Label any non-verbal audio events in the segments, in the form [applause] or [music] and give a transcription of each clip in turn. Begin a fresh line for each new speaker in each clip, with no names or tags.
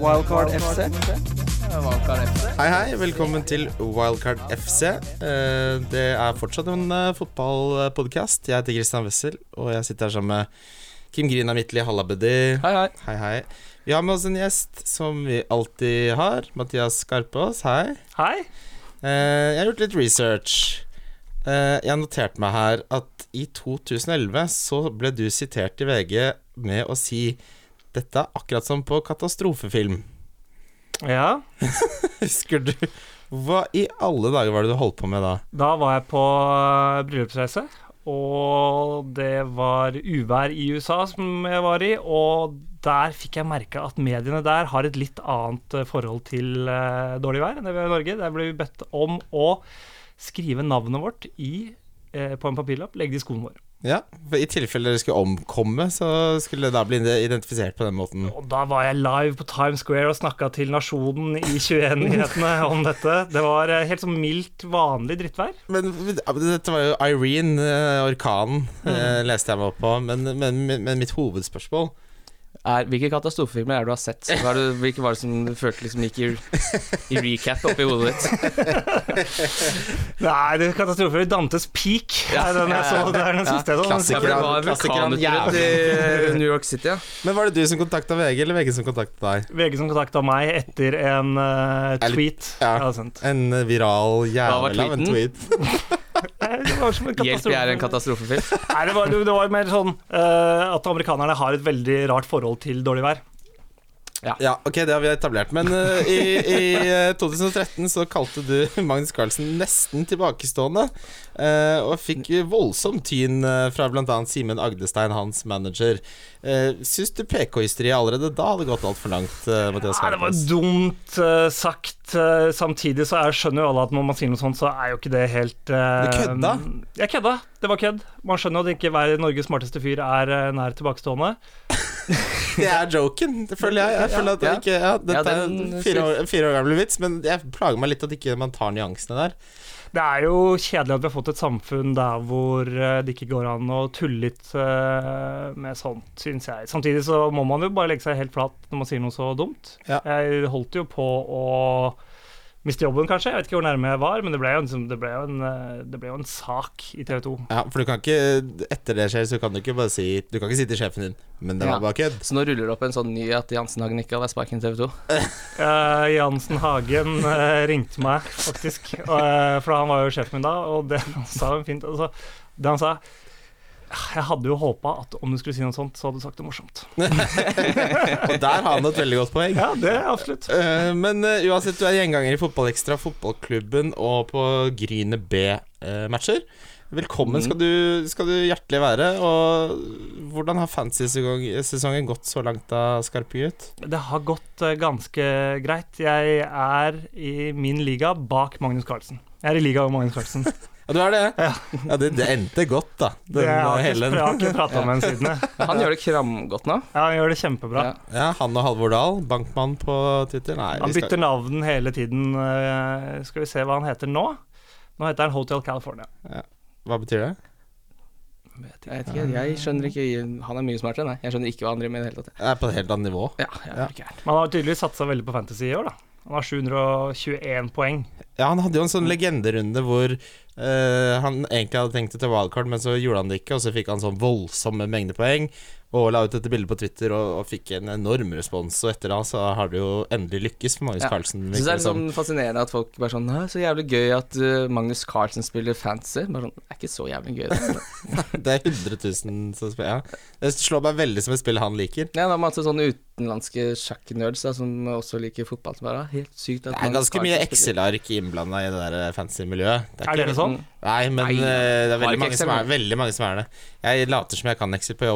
Wildcard FC.
Hei, hei. Velkommen til Wildcard FC. Eh, Det er fortsatt en fotballpodkast. Jeg heter Christian Wessel, og jeg sitter her sammen med Kim Grina Midtli Hallabedi.
Hei, hei.
Hei, hei. Vi har med oss en gjest som vi alltid har. Mathias Skarpaas, hei.
Hei.
Eh, jeg har gjort litt research. Eh, jeg har notert meg her at i 2011 så ble du sitert i VG med å si dette er akkurat som på katastrofefilm.
Ja,
[laughs] Husker du Hva i alle dager var det du holdt på med da?
da var jeg på eh, bryllupsreise, og det var uvær i USA som jeg var i, og der fikk jeg merke at mediene der har et litt annet eh, forhold til eh, dårlig vær enn det vi har i Norge. Der ble vi bedt om å skrive navnet vårt i, eh, på en papirlapp, legge det i skoen vår.
Ja, for I tilfelle dere skulle omkomme, så skulle det da bli identifisert på den måten.
Og da var jeg live på Times Square og snakka til nasjonen i 21-nyhetene om dette. Det var eh, helt sånn mildt, vanlig drittvær.
Men men, dette var jo Irene, eh, orkanen, eh, leste jeg meg opp på. Men, men, men mitt hovedspørsmål
Er, hvilke katastrofefilmer er det du har sett? Hva er det, hvilke var det som du følte liksom gikk i, i recap oppi hodet ditt?
Nei, det er katastrofe. Dantes Peak er den jeg så. Det er den siste jeg så.
klassiker.
Ja, for det var
Klassikeren,
vulkanutbrudd i [laughs] New York City, ja.
Men var det du som kontakta VG, eller VG som kontakta deg?
VG som kontakta meg etter en eh, tweet.
ja.
jeg hadde sendt.
En viral
var
jævel av en
tweeten?
tweet.
Nei, Det var som en
Hjelp, jeg er en
katastrofe.
katastrofefilm.
Nei, det, var, det var mer sånn eh, at amerikanerne har et veldig rart forhold til dårlig vær.
Ja, ok, det har vi etablert. Men eh, i, i eh, 2013 så kalte du Magnus Carlsen nesten tilbakestående. eh, og fikk voldsom tyn eh, fra bl.a. Simen Agdestein, hans manager. Uh, Syns du PK-hysteriet allerede da hadde gått altfor langt? eh, Mathias
Nei, det var [laughs]
Carlsen?
dumt eh, sagt. Eh, samtidig så er, skjønner jo alle at når man sier noe sånt, så er jo ikke det helt eh,
Du kødda?
Jeg kødda. Det var kødd. Man skjønner jo at ikke hver Norges smarteste fyr er eh, nær tilbakestående.
Det er joken, det føler jeg. Jeg føler at det
Ja.
ikke ja, Dette
Ja,
er
den-
en fire år, fire år gammel vits, men jeg plager meg litt at ikke man tar nyansene der.
Det er jo kjedelig at vi har fått et samfunn der hvor eh, det ikke går an å tulle litt eh, med sånt, syns jeg. Samtidig så må man jo bare legge seg helt flat når man sier noe så dumt.
Ja.
Jeg holdt jo på å miste jobben, kanskje. Jeg vet ikke hvor nærme jeg var, men det ble jo, en- det ble jo, en, eh, det ble jo en sak i TV 2.
Ja, For du kan ikke Etter det skjer, så kan du ikke bare si Du kan ikke si til sjefen din Men det
Ja.
var bare kødd.
Så nå ruller det opp en sånn ny at Jansen Hagen ikke hadde vært sparken i TV 2.
Jansen Eh, Hagen eh, ringte meg, faktisk, eh, for han var jo sjefen min da, og det [laughs] han sa var fint. Altså, det han sa "Ah, Jeg hadde jo håpa at om du skulle si noe sånt, så hadde du sagt det morsomt.
Og der har han et veldig godt poeng.
Ja, det er absolutt.
Eh, men eh, uansett, du er gjenganger i Fotballekstra, fotballklubben og på Gryne B-matcher. Velkommen
Mm.
skal, du, skal du hjertelig være. Og hvordan har fantasy-sesongen gått så langt, da, skarpe gutt?
Det har gått eh, ganske greit. Jeg er i min liga bak Magnus Carlsen. Jeg er i liga med Magnus Carlsen.
Ja, du er [laughs] det? Ja, det, det endte godt, da. Den, eh,
Det har jeg
hele-
ikke- jeg har ikke prata med ham siden. jeg.
Han gjør det kramgodt nå.
Ja, han gjør det kjempebra.
Ja.
ja, han og Halvor Dahl, bankmann på Twitter. Nei,
Han
vi skal-
bytter navn hele tiden. Eh, Skal vi se hva han heter nå? Nå heter han Hotel California.
hva betyr det?
Jeg vet ikke, jeg skjønner ikke Han er mye smartere enn meg. Jeg skjønner ikke hva han driver med i det hele tatt.
Det er på et helt annet nivå.
Ja, jeg er ikke her.
Men han har tydeligvis satsa veldig på fantasy i år, da. Han har 721 poeng.
Ja, han hadde jo en sånn legenderunde hvor eh, han egentlig hadde tenkt det til wildcard, men så gjorde han det ikke, og så fikk han sånn voldsomme mengde poeng, og la ut dette bildet på Twitter og, og fikk en enorm respons, og etter da så har det jo endelig lykkes for Magnus
Ja.
Carlsen.
Jeg
virker
synes det
det
er litt
som.
sånn fascinerende at folk bare sånn Hæ, så jævlig gøy at uh, Magnus Carlsen spiller fantasy. Bare sånn, det er ikke så jævlig gøy. Det.
Det er 100 000 som spiller. Ja. Det slår meg veldig som et spill han liker.
Ja, da har man hatt sånne utenlandske sjakknerds da, som også liker fotball. Som bare, «Ah, helt sykt at
Det er
Magnus
ganske mye
Carlsen spiller».
Excel-ark innblanda i det der fancy miljøet. Det
Er dere sånn?
Nei, men
Nei,
eh, det er
har
veldig
ikke
mange,
Excel,
som er,
men-
veldig mange som er det. Jeg later som jeg kan Excel på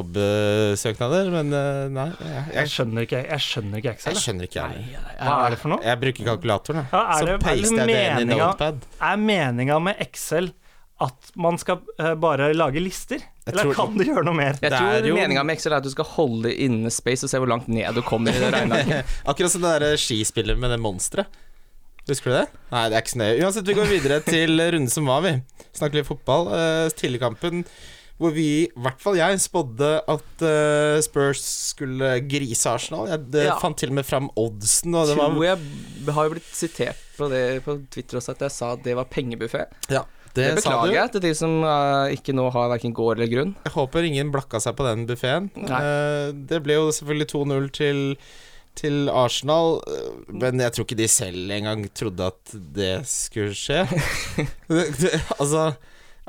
jobbsøknader, men eh, nei. Jeg,
Jeg
jeg,
skjønner ikke, jeg skjønner ikke Excel.
jeg
jeg.
skjønner ikke, jeg heller.
Nei, nei,
Hva er det for noe?
Jeg bruker kalkulatoren, jeg.
Ja, er det-
så
er det
paster jeg det inn i
meninga?
Notepad.
Er meninga med Excel at man skal eh, bare lage lister? Eller
tror-
kan du gjøre noe mer?
Jeg
Det er
tror
jo-
meninga med Excel er at du skal holde inne space og se hvor langt ned du kommer i det
[laughs]
regnearket.
Akkurat som det der eh, skispillet med det monsteret. Husker du det? Nei,
[laughs]
det er ikke så nøye. Uansett, vi går videre til runden som var, vi. Snakker litt fotball. Uh, Stillekampen Eh, hvor vi, i hvert fall jeg, spådde at eh, Spurs skulle grise Arsenal. Jeg det
Ja.
fant til og med fram oddsen, og det var
Tror jeg b- har jo blitt sitert på det på Twitter også, at jeg sa at det var pengebuffé.
ja,
Det
sa du.
beklager jeg til de som eh, ikke nå har hverken gård eller grunn.
Jeg håper ingen blakka seg på den buffeen.
Nei.
det ble jo selvfølgelig 2-0 til, til Arsenal, eh, men jeg tror ikke de selv engang trodde at det skulle
[laughs]
skje. det, det, altså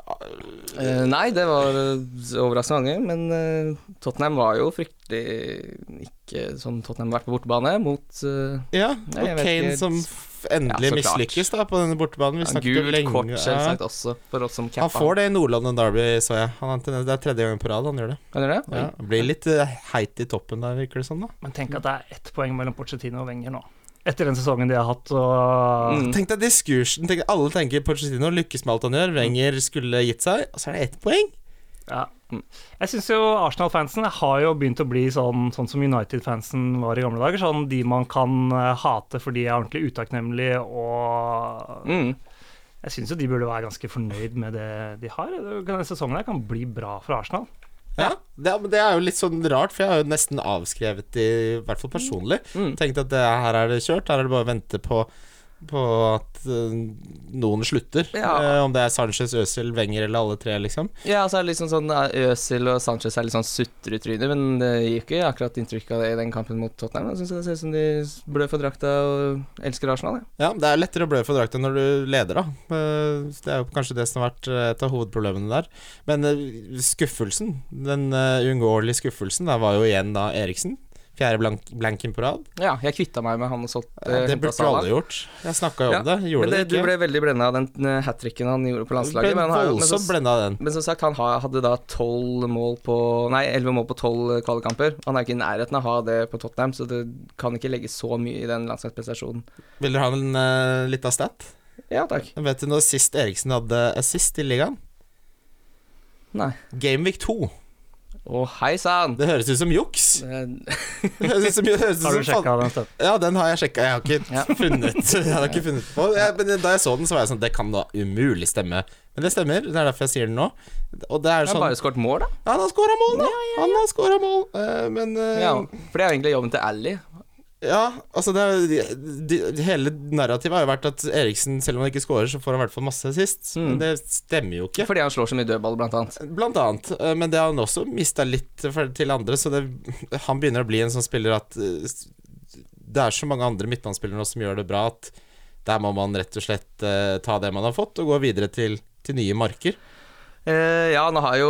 Eh, nei, det var eh, overraskende mange, men eh, Tottenham var jo fryktelig ikke som Tottenham har vært på bortebane, mot eh,
Ja,
Nei,
og
jeg vet
Kane
ikke.
som f- endelig
Ja, så klart.
mislykkes da på denne bortebanen. Vi
ja,
snakket jo
gult
lenge
kort,
ja.
selvsagt også, for oss som
Han
cappa.
får det i Nord-London Derby, så jeg. Han har tendens- det er tredje gangen på rad han gjør det.
Kan dere det?
Ja, han blir litt eh, heit i toppen der, virker det som. da
Men tenk at det er ett poeng mellom Pochettino og Wenger nå. Etter den sesongen de har hatt, og
Mm.
Tenk deg diskursen. Tenk, alle tenker Pochettino lykkes med alt han gjør. Wenger skulle gitt seg, og så er det ett poeng.
ja. Jeg syns jo Arsenal-fansen har jo begynt å bli sånn, sånn som United-fansen var i gamle dager. Sånn de man kan eh, hate fordi de er ordentlig utakknemlige og
Mm.
Jeg syns jo de burde være ganske fornøyd med det de har. Denne sesongen her kan bli bra for Arsenal.
Ja, det, er- men det er jo litt sånn rart, for jeg har jo nesten avskrevet det, i hvert fall personlig.
Mm.
Tenkt at det, her er det kjørt, her er det bare å vente på, på at eh, noen slutter.
Ja.
Eh, om det er Sanchez, Øzil, Wenger eller alle tre, liksom.
Ja, altså er det liksom sånn eh, Øsil og Sanchez er litt sånn sutretryner, men det gir jo ikke akkurat inntrykk av det i den kampen mot Tottenham. Jeg syns det ser ut som de blør for drakta og elsker Arsenal, jeg.
Ja, det er lettere å blø for drakta når du leder, da. Eh, Det er jo kanskje det som har vært eh, et av hovedproblemene der. Men eh, skuffelsen, den eh, uunngåelige skuffelsen, der var jo igjen da Eriksen. Fjerde blank, blanken på rad.
Ja, jeg kvitta meg med han og solgte
Eh, Det burde jo alle gjort. Jeg snakka jo om det. Gjorde
Men det,
det,
du
ikke.
ble veldig blenda av den hat tricken han gjorde på landslaget.
ble
Men, han har, jo- men,
voldsomt
så,
blenda av den.
men som sagt, han har, hadde da 12 mål på Nei, 11 mål på 12 kvalikkamper. Han er ikke i nærheten av å ha det på Tottenham, så det kan ikke legge så mye i den landslagsprestasjonen.
Vil dere ha en uh, lita stat?
Ja takk.
Vet du når sist Eriksen hadde assist i ligaen?
Nei.
Gameweek 2.
Å, hei sann! Eh,
Det høres ut som juks.
Det-
[laughs] Det høres ut som, det høres ut
Har du
som fan-
sjekka den støtten?
Ja, den har jeg sjekka. Jeg har ikke
Ja.
[laughs] funnet Jeg har ikke funnet på jeg, Men da jeg så den, så var jeg sånn Det kan da umulig stemme. Men det stemmer. Det er derfor jeg sier det nå. Og det er
Han har
sånn
bare skåret mål, da.
Ja, han har scora mål, da! Han har scora mål. Eh, men eh,
Ja, for det er jo egentlig jobben til Ally.
Ja, altså det er, jo- de, de, Hele narrativet har jo vært at Eriksen, selv om han ikke scorer, så får han i hvert fall masse sist. Men det stemmer jo ikke.
Fordi han slår så mye dødball, blant annet.
Blant annet. eh, Men det har han også mista litt for- til andre, så det, han begynner å bli en sånn spiller at eh, det er så mange andre midtbanespillere nå som gjør det bra, at der må man rett og slett eh, ta det man har fått, og gå videre til, til nye marker.
Altså, Eh, ja, nå har jo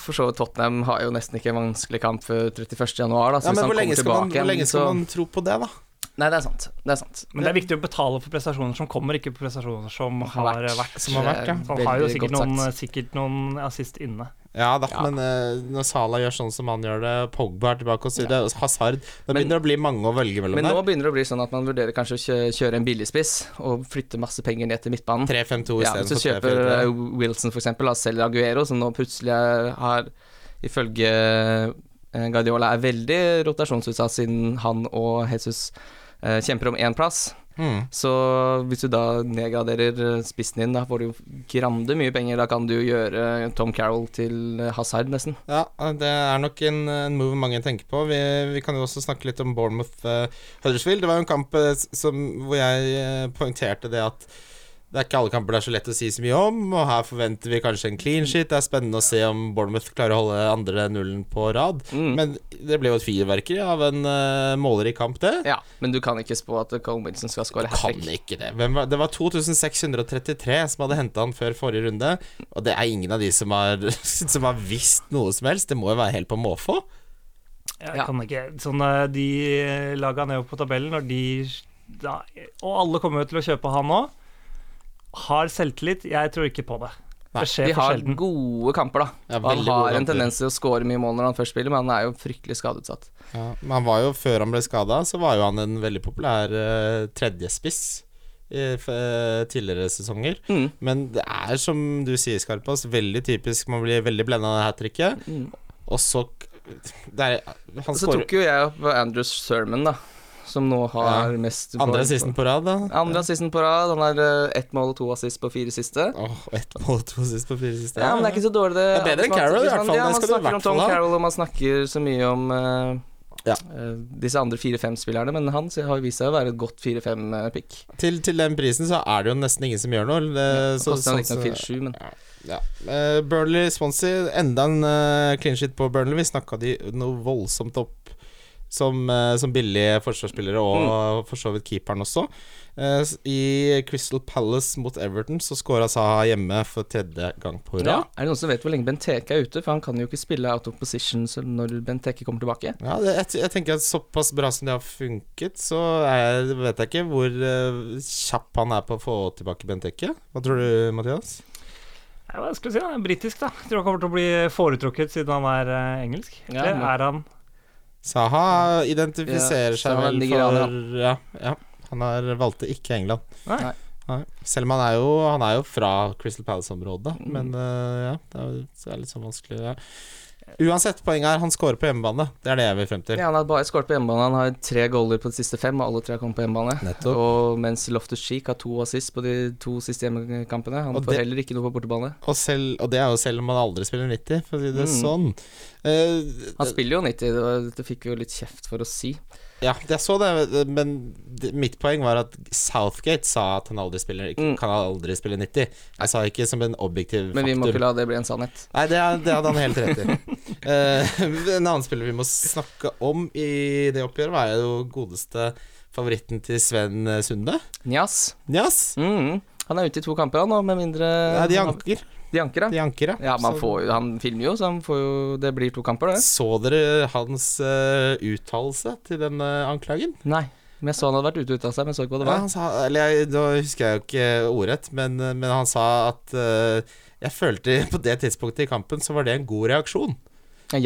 for så vidt Tottenham har jo nesten ikke en vanskelig kamp før 31. januar, da. Så
Ja,
hvis
men
han
hvor lenge,
kommer
skal man,
tilbake
hvor lenge
igjen,
skal
så
man tro på det, da?
Nei, det er sant. Det er sant.
Men det er viktig å betale for prestasjoner som kommer, ikke prestasjoner som har vært.
som har vært, ja.
Det er
Han har jo
veldig
sikkert
godt
noen,
sagt.
sikkert noen assist inne.
Ja da,
Ja.
men eh, når Salah gjør sånn som han gjør det, Pogba er tilbake og sier det, Hazard Det
Men-
begynner å bli mange å velge mellom
Men nå
der.
begynner det å bli sånn at man vurderer kanskje å kjø- kjøre en billigspiss og flytte masse penger ned til midtbanen.
3-5-2
Ja, hvis du
istedenfor
kjøper
3-4-3.
eh, Wilson for eksempel, da, selger Aguero, som nå plutselig er- har, ifølge eh, Guardiola, er veldig rotasjonsutsatt siden han og Jesus eh, kjemper om én plass.
Mm.
Så hvis du da nedgraderer eh, spissen din, da får du jo grande mye penger. Da kan du jo gjøre Tom Carroll til eh, Hazard, nesten.
Ja, det er nok en, en move mange tenker på. Vi, vi kan jo også snakke litt om Bournemouth eh, Huddersfield. Det var jo en kamp eh, som, hvor jeg eh, poengterte det at det er ikke alle kamper det er så lett å si så mye om, og her forventer vi kanskje en clean sheet. Det er spennende å se om Bournemouth klarer å holde andre nullen på rad.
Mm.
Men det ble jo et fyrverkeri av en uh, målerik kamp, det.
ja, men du kan ikke spå at Cole Wilson skal skåre hat
Kan
trick.
ikke det. Hvem var, det var 2633 som hadde henta han før forrige runde, og det er ingen av de som har, [laughs] som har visst noe som helst. Det må jo være helt på måfå.
Jeg
Ja.
kan ikke sånn, eh, De laga nedover på tabellen, når de da, Og alle kommer jo til å kjøpe han nå. Har selvtillit? Jeg tror ikke på det.
Nei,
Det skjer
De
for
har
sjelden.
gode kamper, da.
Ja,
Og han
veldig gode
har en
kamper.
tendens til å skåre mye mål når han først spiller, men han er jo fryktelig skadeutsatt.
Ja, men han var jo, før han ble skada, så var jo han en veldig populær eh, tredjespiss i f- eh, tidligere sesonger.
Mm.
Men det er, som du sier, Skarpaas, veldig typisk. Man blir veldig blenda av det her trikket,
Mm.
og så det er, Han
Så
skårer
tok jo jeg opp Andrews Sermon, da. som nå har mest
Andre assisten på rad, da.
Andre assisten på rad. Han har eh, ett mål og to assist på fire siste.
Åh, ett mål og to sist på fire siste.
Ja, men det er ikke så dårlig, det.
Det er bedre enn
Man-
Carroll, i
hvis
hvert
man-
fall.
Ja,
Det
man
skal du i
snakker om
hvert fall
Tom
ha.
Carroll, og man snakker så mye om eh,
Ja.
eh, disse andre fire-fem spillerne, men han har vist seg å være et godt eh, fire-fem-pick.
til, til den prisen så er det jo nesten ingen som gjør noe. Det, så,
Koster han
sånn som-
riktignok 4-7, men
ja. Eh, Burnley Swansea, enda en eh, clean shit på Burnley. Vi snakka de noe voldsomt opp som, eh, som billige forsvarsspillere, og for så vidt keeperen også. Eh, s- I Crystal Palace mot Everton så scora Saha hjemme for tredje gang på
ja.
rad.
Er det noen som vet hvor lenge Benteke er ute? For han kan jo ikke spille out of position så når Benteke kommer tilbake.
Ja, det, jeg, jeg tenker at såpass bra som det har funket, så er, vet jeg ikke hvor eh, kjapp han er på å få tilbake Benteke. Hva tror du, Mathias?
Ja, hva skal jeg si, han er britisk, da. Jeg tror han kommer til å bli foretrukket siden han er eh, engelsk.
Ja,
Eller
men-
er han
Saha
Ja,
identifiserer
så
seg
han er
vel
nigerianer,
for ja, ja, han har valgte ikke England.
Nei.
Nei.
Nei. Selv om han er jo, han er jo fra Crystal Palace-området,
Mm.
men eh, ja, det er, jo- så er det litt sånn vanskelig ja. Uansett, poenget er han scorer på hjemmebane. Det er det jeg vil frem til.
Ja, han har bare skåret på hjemmebane. Han har tre goaler på de siste fem, og alle tre har kommet på hjemmebane.
Nettopp.
Og mens Loftus Cheek har to assist på de to siste hjemmekampene. Han
Og
får
det-
heller ikke noe på bortebane.
Og, selv, og det er jo selv om han aldri spiller 90, for å si det
Mm.
sånn. Eh,
Han spiller jo 90, det, var, det fikk vi jo litt kjeft for å si.
Ja, jeg så det, men det- mitt poeng var at Southgate sa at han aldri spiller,
Mm.
kan aldri spille 90. Jeg sa ikke som en objektiv
Men vi må
faktor.
ikke la det bli en sannhet.
Nei, det, er- det hadde han helt rett i. [laughs] Eh, en annen spiller vi må snakke om i det oppgjøret, var jo godeste favoritten til Sven Sunde.
Njas.
Njas.
Mm. Han er ute i to kamper, han nå, med mindre
Nei, de anker.
De anker,
De
ja.
anker, ja.
Eh, Ja, man
Så-
får jo, han filmer jo, så han får jo Det blir to kamper, det.
Så dere hans eh, uttalelse til den eh, anklagen?
Nei. Men jeg så han hadde vært ute ute av seg, men så ikke hva det
Ja,
var.
han sa, eller jeg, da husker jeg jo ikke ordrett, men, eh, men han sa at eh, jeg følte på det tidspunktet i kampen så var det en god reaksjon.
Jeg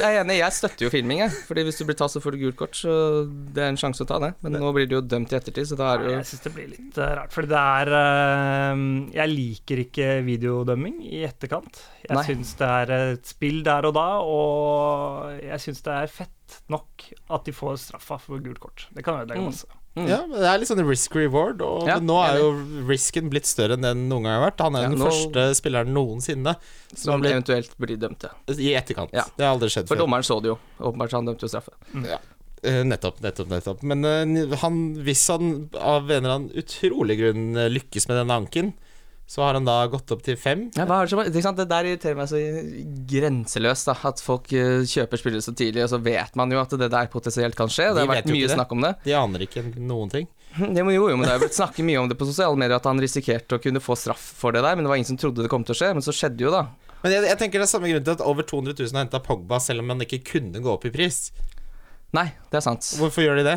er enig, jeg støtter jo filming, jeg. Fordi hvis du blir tatt, så får du gult kort, så det er en sjanse å ta det. Men nå blir du jo dømt i ettertid, så da er det
Nei,
jo
Jeg syns det blir litt eh, rart, fordi det er eh, Jeg liker ikke videodømming i etterkant. Jeg
Nei.
syns det er et spill der og da, og jeg syns det er fett nok at de får straffa for gult kort. Det kan ødelegge
Mm.
masse.
Mm.
Ja, men Det er litt sånn risk reward, og
Ja,
nå er jo risken blitt større enn den noen gang har vært. Han er
Ja,
den
nå-
første spilleren noensinne som
Som
har blitt
eventuelt blir dømt, ja.
i etterkant.
Ja.
Det har aldri skjedd
For
før.
dommeren så det jo. Åpenbart, så han dømte jo straffe.
Eh, nettopp, nettopp, nettopp. Men eh, han, hvis han av en eller annen utrolig grunn eh, lykkes med denne anken, så har han da gått opp til fem.
Ja, hva er det, som, ikke sant? det der irriterer meg så grenseløst, da, at folk eh, kjøper spillere så tidlig, og så vet man jo at det der potensielt kan skje.
De
Det har
vet
vært
jo ikke
mye
det.
snakk om det.
De aner ikke noen ting.
[laughs] Det må jo, jo, men Det har blitt snakket mye om det på sosiale medier, at han risikerte å kunne få straff for det der, men det var ingen som trodde det kom til å skje. Men så skjedde jo, da.
Men jeg, jeg tenker det er samme grunn til at over 200 000 har henta Pogba selv om han ikke kunne gå opp i pris.
Nei, det er sant.
Hvorfor gjør de det?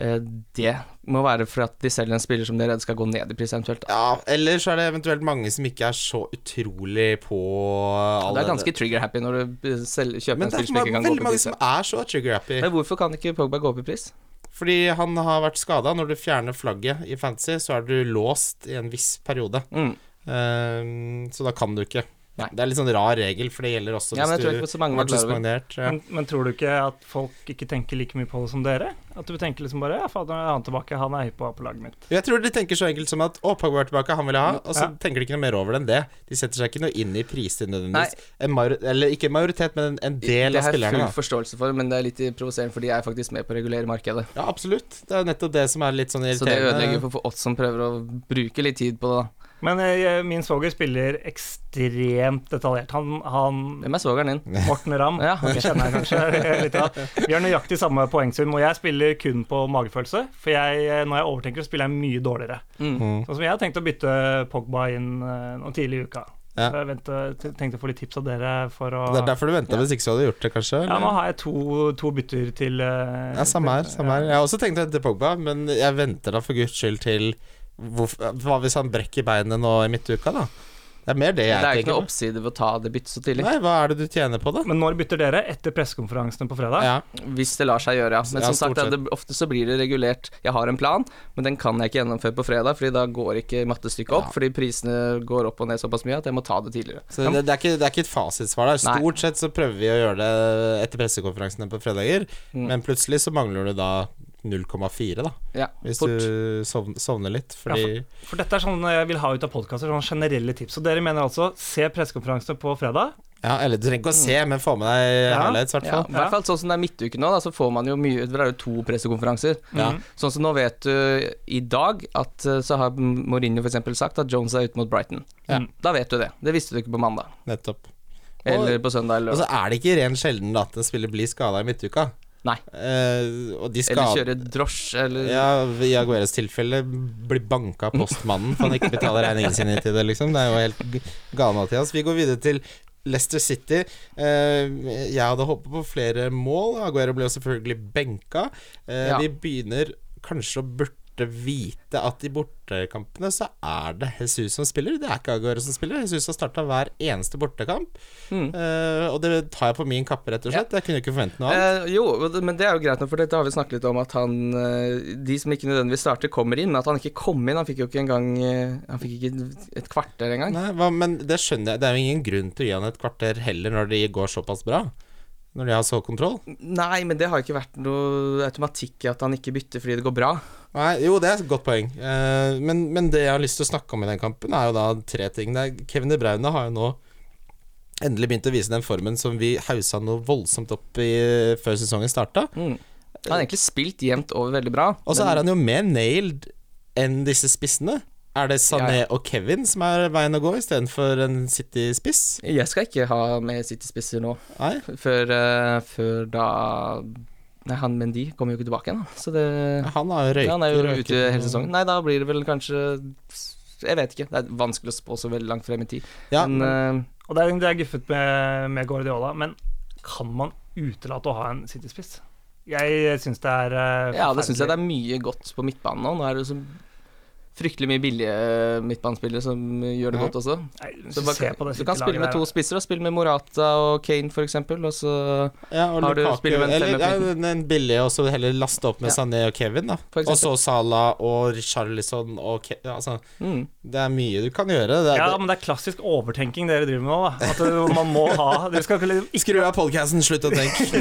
Eh, Det må være for at de selger en spiller som de er redd skal gå ned i pris, eventuelt. Da.
Ja, Eller så er det eventuelt mange som ikke er så utrolig på all
Det er
den-
ganske trigger-happy når du eh, selger, kjøper
Men det
en
er
spiller som
ma-
ikke kan gå
veldig
opp i
mange
pris.
som er så trigger-happy.
Men hvorfor kan ikke Pogba gå opp i pris?
Fordi han har vært skada. Når du fjerner flagget i fantasy, så er du låst i en viss periode.
Mm.
Ehm, så da kan du ikke.
Nei.
Det er litt sånn rar regel, for det gjelder også
Ja, men jeg tror
hvis
ikke
du
så mange
har
var klar over det.
suspendert. Ja.
Men, men tror du ikke at folk ikke tenker like mye på det som dere? At du tenker liksom bare Ja, fader, nå er han tilbake, han er hypp på å ha på laget mitt.
Jeg tror de tenker så enkelt som at Å, Pogba er tilbake, han vil jeg ha. Og så
Ja.
tenker de ikke noe mer over det enn det. De setter seg ikke noe inn i priser nødvendigvis. En major, eller ikke en majoritet, men en, en del
Det
av
har jeg
spillerne.
full
da.
forståelse for, men det er litt provoserende, fordi jeg er faktisk med på å regulere markedet.
Ja, absolutt. Det er nettopp det som er litt sånn
Så det ødelegger
irriterende.
for, for oss som prøver å bruke litt tid på det. da.
Men eh, min svoger spiller ekstremt detaljert. Han,
[laughs]
han
Hvem er svogeren din?
Morten Ramm.
Ja, ok.
Det kjenner jeg kanskje litt av. Vi har nøyaktig samme poengsum, og jeg spiller kun på magefølelse. For jeg, eh, når jeg overtenker, så spiller jeg mye dårligere.
Mm.
Sånn som jeg har tenkt å bytte Pogba inn eh, nå tidlig i uka.
Ja.
Så jeg venter, t- tenkte å få litt tips av dere for å
Det er derfor du venta, hvis ikke så hadde du gjort det, kanskje.
Ja, nå har jeg to, to bytter til eh,
Ja, samme her. samme her Jeg har også tenkt å hente Pogba, men jeg venter da for guds skyld til hvorf- Hva hvis han brekker beinet nå i midtuka, da? Det er mer det
Det
jeg
er jo ikke
tenker.
noe oppside ved å ta det byttet så tidlig.
Nei, hva er det du tjener på, da?
Men når bytter dere? Etter pressekonferansene på fredag?
Ja.
Hvis det lar seg gjøre, ja. Men
Ja,
som sagt,
stort
det, ofte så blir det regulert. Jeg har en plan, men den kan jeg ikke gjennomføre på fredag, fordi da går ikke mattestykket opp.
Ja.
Fordi prisene går opp og ned såpass mye at jeg må ta det tidligere.
Så det, det, er ikke, det er ikke et fasitsvar der.
Nei. Mm.
Stort sett så prøver vi å gjøre det etter pressekonferansene på fredager, men plutselig så mangler du da 0,4, da.
Ja,
Hvis
fort.
du sovn- sovner litt. Fordi
Ja, For dette er sånn jeg vil ha ut av podkaster, sånne generelle tips. Og dere mener altså se pressekonferansene på fredag.
Ja, eller du trenger ikke å se, men få med deg
Ja.
highlights, i hvert
Ja,
fall.
I hvert fall sånn som det er midtuke nå, da, så får man jo mye Det er jo to pressekonferanser.
Ja.
Sånn som nå vet du i dag at eh, så har Mourinho f.eks. sagt at Jones er ute mot Brighton.
Ja.
Da vet du det. Det visste du ikke på mandag.
Nettopp.
Eller på søndag eller
Og altså, så er det ikke ren sjelden da, at en spiller blir skada i midtuka.
Nei.
Eh, og de
Eller
skada
kjøre drosje, eller
ja, I Agueras tilfelle blir banka av postmannen for han ikke betaler regningene sine i tide, liksom. Det er jo helt g- gale, Mathias. Vi går videre til Leicester City. Eh, jeg hadde håpet på flere mål. Aguero ble jo selvfølgelig benka. Eh,
Ja.
Vi begynner kanskje å burde vite at i bortekampene så er det Jesus som spiller. Det er ikke Aguero som spiller. Jesus har starta hver eneste bortekamp.
Mm.
Eh, og det tar jeg på min kappe, rett og slett. Jeg kunne jo ikke forvente noe annet.
Eh, jo, men det er jo greit nok, for dette har vi snakket litt om at han eh, De som ikke nødvendigvis starter, kommer inn, men at han ikke kom inn Han fikk jo ikke engang eh, Han fikk ikke et kvarter engang.
Nei, hva, men det skjønner jeg. Det er jo ingen grunn til å gi han et kvarter heller når de går såpass bra. Når de har så kontroll.
Nei, men det har ikke vært noe automatikk i at han ikke bytter fordi det går bra.
Nei, jo, det er et godt poeng. Eh, men, men det jeg har lyst til å snakke om i den kampen, er jo da tre ting. Det er Kevin De Bruyne har jo nå endelig begynt å vise den formen som vi haussa noe voldsomt opp i før sesongen starta.
Mm. Han har egentlig spilt jevnt over veldig bra.
Og så er han jo mer nailed enn disse spissene. Er det Sané
Ja, ja.
og Kevin som er veien å gå istedenfor en City-spiss?
Jeg skal ikke ha med City-spisser nå,
Nei?
før, eh, før da Nei, han Mendy kommer jo ikke tilbake igjen, da. så det
Han har jo røyket.
Han er jo
røyket
ute
noe-
hele sesongen. Nei, da blir det vel kanskje Jeg vet ikke. Det er vanskelig å spå så veldig langt frem i tid.
Ja,
men eh,
Og det er, det er guffet med, med Guardiola, men kan man utelate å ha en City-spiss? Jeg syns det er eh,
ja, det syns jeg det
forferdelig.
er mye godt på midtbanen nå. Nå er det jo så fryktelig mye billige eh, midtbanespillere som gjør det
Ja.
godt også.
Nei,
Så
så
bare-
se på det
du kan spille med
City-laget
to
der.
spisser, da. Spille med Morata og Kane, for eksempel, og så
Ja, og
Har du
Lukaku,
spiller med en
eller, ja,
femmer på
en, en billig, og så heller laste opp med
Ja.
Sané og Kevin, da.
For
Og
eksempel.
så Salah og Richarlison og Ke ja, altså,
mm.
Det er mye du kan gjøre. Det, er-
Ja, men det er klassisk overtenking dere driver med nå, da. At eh, man må ha Dere skal ikke liksom-
det. Skru av podcasten, slutt å tenke.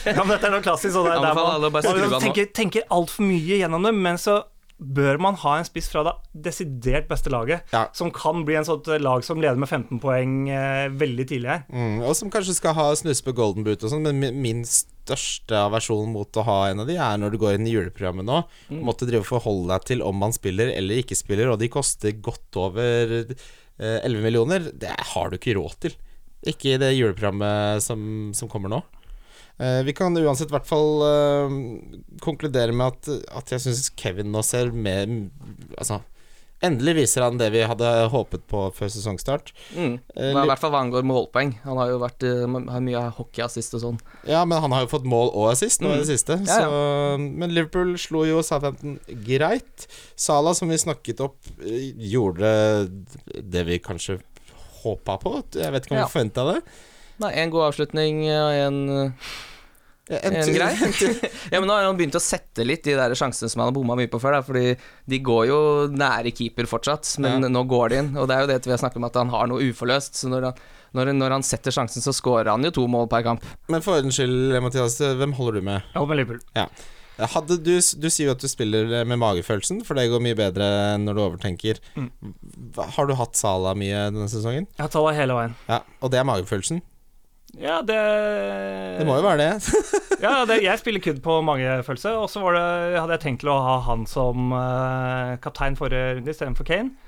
[laughs] Ja, men dette er noe klassisk. Og det er der man,
Anbefaler alle å bare skru
man
av nå.
tenker, tenker altfor mye gjennom det, men så bør man ha en spiss fra det desidert beste laget,
Ja.
som kan bli en sånt eh, lag som leder med 15 poeng eh, veldig tidlig her.
Mm, og som kanskje skal ha snuse på golden boot og sånn, men min, min største aversjon mot å ha en av de, er når du går inn i juleprogrammet nå, måtte drive og forholde deg til om man spiller eller ikke spiller, og de koster godt over eh, 11 millioner. Det har du ikke råd til. Ikke i det juleprogrammet som, som kommer nå. Eh, vi kan uansett i hvert fall eh, konkludere med at, at jeg syns Kevin nå ser mer Altså, endelig viser han det vi hadde håpet på før sesongstart.
Mm.
Eh,
Men I
litt-
hvert fall hva angår målpoeng. Han har jo vært eh, har mye hockeyassist og sånn.
Ja, men han har jo fått mål og assist nå i det
Mm.
siste.
Ja, ja.
Så, men Liverpool slo jo Southampton greit. Sala, som vi snakket opp, eh, gjorde det vi kanskje håpa på. Jeg vet ikke om
Ja.
vi forventa det.
Nei, en god avslutning eh, og en En
[laughs]
grei? Ja, men nå har han begynt å sette litt de der sjansene som han har bomma mye på før, da, fordi de går jo nære keeper fortsatt, men
Ja.
nå går de inn. Og det er jo det vi har snakket om, at han har noe uforløst. Så når han, når, når han setter sjansen, så scorer han jo to mål per kamp.
Men for ordens skyld, Mathias, hvem holder du med?
Jeg håper Liverpool.
Hadde du, du sier jo at du spiller med magefølelsen, for det går mye bedre enn når du overtenker.
Mm.
Hva- Har du hatt Sala mye denne sesongen?
Jeg har talla hele veien.
Ja, Og det er magefølelsen?
Ja, det
Det må jo
Eh.
være det.
[laughs]
Ja, det, jeg spiller kødd på mange følelser. Og så var det- hadde jeg tenkt til å ha han som eh, kaptein forrige runde istedenfor Kane.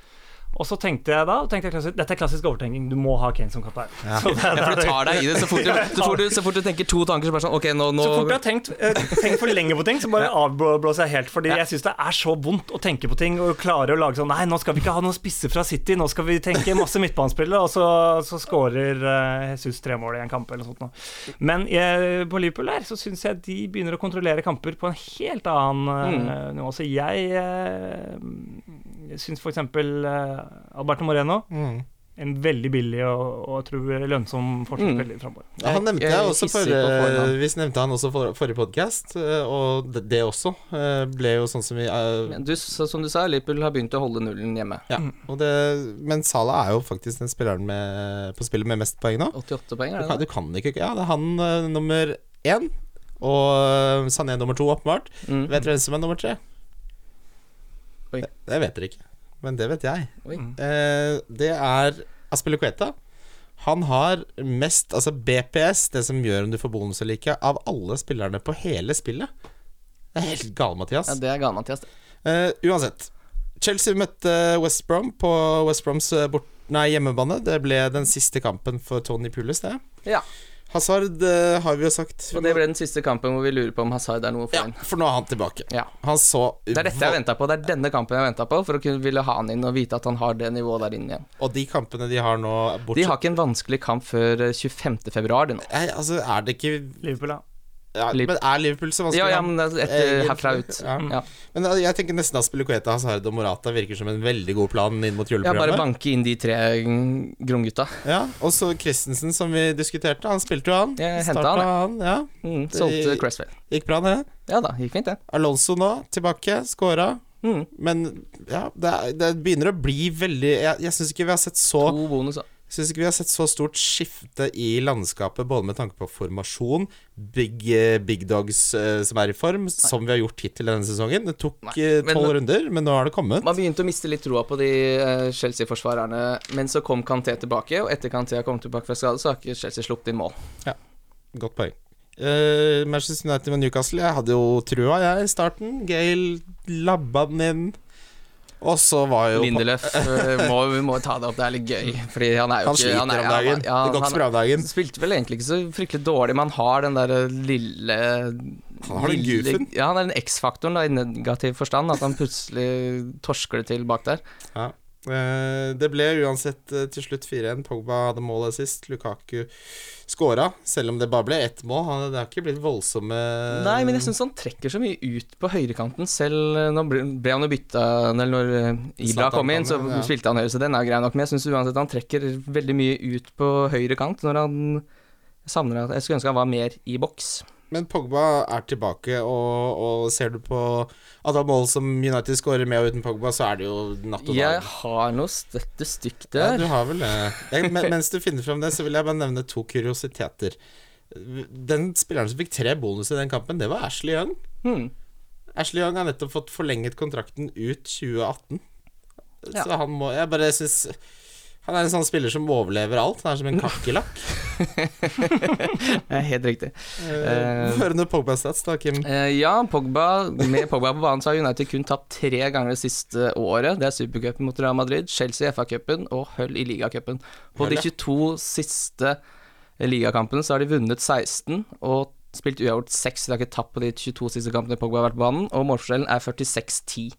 Og så tenkte jeg da tenkte jeg klassisk, Dette er klassisk overtenking. Du må ha Kane som kaptein. Så det-
[laughs] Ja, for du tar deg i det så fort du, så fort du, så fort du tenker to tanker, så bare sånn Ok, nå, nå
Så fort [laughs] jeg har tenkt, eh, tenkt for lenge på ting, så bare avblåser jeg helt. Fordi jeg syns det er så vondt å tenke på ting og klare å lage sånn Nei, nå skal vi ikke ha noen spisser fra City, nå skal vi tenke masse midtbanespillere, og så, så scorer eh, Jesus tre mål i en kamp eller noe sånt. nå. Men eh, på Liverpool her så syns jeg de begynner å kontrollere kamper på en helt annen eh, nivå. Så jeg eh, syns f.eks. Eh, Alberto Moreno
Mm.
en veldig billig og, og jeg tror lønnsom forsvarsspiller framover.
Ja, han nevnte
Jeg-
jeg
jeg
også
hisser på
forrige
forhånd.
Vi nevnte han også for, forrige podkast, og det, det også eh, ble jo sånn som vi eh,
Men du, så, Som du sa, Liverpool har begynt å holde nullen hjemme.
Ja. Og det, men Salah er jo faktisk den spilleren med, på spillet med mest poeng nå.
88 poeng,
Du
er
kan,
det?
du kan ikke Ja, det er han eh, nummer én. Og Sané nummer to, åpenbart.
Mm.
Vet dere hvem som er nummer tre?
Oi.
Det, det vet dere ikke, men det vet jeg.
Oi.
Eh, det er Aspilicueta. Han har mest, altså BPS, det som gjør om du får bonus eller ikke, av alle spillerne på hele spillet. Det er helt gal, Mathias.
Ja, det er gale, Mathias.
Eh, uansett. Chelsea møtte West Brom på West Broms eh, bort, nei, hjemmebane. Det ble den siste kampen for Tony Pulis, det.
Ja.
Hazard eh, har vi jo sagt.
Og det ble den siste kampen hvor vi lurer på om Hazard er noe for
ja,
en.
for nå er han tilbake.
Ja.
Han så
Det er dette jeg venta på. Det er denne kampen jeg venta på, for å kunne ville ha han inn og vite at han har det nivået der inne igjen.
Og de kampene de har nå
De
bortsett
har ikke en vanskelig kamp før eh, 25. februar, de nå.
Nei, altså, er det ikke
Liverpool, ja.
ja,
Liv-
Men er Liverpool så vanskelig?
Ja, ja,
da?
men det er etter
Eh,
herfra ut.
Ja.
Ja.
Men eh, jeg tenker nesten at Spilicueta, Hazard og Morata virker som en veldig god plan inn mot
Ja, bare
juleprogrammet.
banke inn de tre mm, grunngutta.
Ja, og så Christensen, som vi diskuterte. Han spilte jo, han.
Jeg hentet
Starta
han,
ja.
Mm,
Det-
solgte Cresswell.
Gikk bra, det.
Ja da, gikk fint, det.
Alonso nå, tilbake, skåra.
Mm.
Men ja, det, er, det begynner å bli veldig Jeg, jeg syns ikke vi har sett så
To bonus.
jeg synes ikke vi har sett så stort skifte i landskapet, både med tanke på formasjon, big, big dogs eh, som er i form, som vi har gjort hittil i denne sesongen. Det tok
Nei,
eh,
men-
tolv runder, men nå har det kommet.
Man begynte å miste litt troa på de eh, Chelsea-forsvarerne, men så kom Kanté tilbake, og etter Kanté har kommet tilbake fra skade, så har ikke Chelsea sluppet inn mål.
Godt poeng. Eh, Manchester United med Newcastle, jeg hadde jo trua, jeg, i starten. Gale labba den inn. Og så var jo
Lindelöf eh, må, vi må ta det opp, det er litt gøy, fordi han er jo
Han
ikke
sliter om
er-
dagen.
Ja,
det går ikke så
han,
bra om dagen.
han spilte vel egentlig ikke så fryktelig dårlig, men han har den der eh, lille
Han har den
lille-
goofen.
Ja, han er den X-faktoren da, i negativ forstand, at han plutselig torsker det til bak der.
Eh, Det ble uansett eh, til slutt 4-1. Pogba hadde målet sist. Lukaku skåra, selv om det bare ble ett mål. Han, det har ikke blitt voldsomme
Nei, men jeg syns han trekker så mye ut på høyrekanten selv. eh, Nå ble ble han jo bytta Eller når eh, Ibra
Zlatan
kom inn, så
kom inn, ja.
spilte han høyre, så den er jo grei nok. Men jeg syns uansett han trekker veldig mye ut på høyre kant når han jeg savner at Jeg skulle ønske han var mer i boks.
Men Pogba er tilbake, og, og ser du på antall mål som United skårer med og uten Pogba, så er det jo natt og dag.
Jeg har noe støtte stykk
Ja,
der.
du har vel det. Jeg, men- mens du finner fram det, så vil jeg bare nevne to kuriositeter. Den spilleren som fikk tre bonus i den kampen, det var Ashley Young. [laughs]
Hmm.
Ashley Young har nettopp fått forlenget kontrakten ut 2018.
Ja.
Så han må Jeg bare syns Han er en sånn spiller som overlever alt. Han er som en
[laughs]
kakerlakk.
Eh, Helt riktig.
Eh, Hør noe Pogba-stats, da, Kim.
Eh, ja, Pogba, med Pogba på banen så har United kun tapt tre ganger det siste året. Det er supercupen mot Real Madrid, Chelsea i FA-cupen og Hull i ligacupen. På
Hull,
de
ja.
22 siste ligakampene så har de vunnet 16 og spilt uavgjort 6. De har ikke tapt på de 22 siste kampene Pogba har vært på banen, og målforskjellen er 46-10.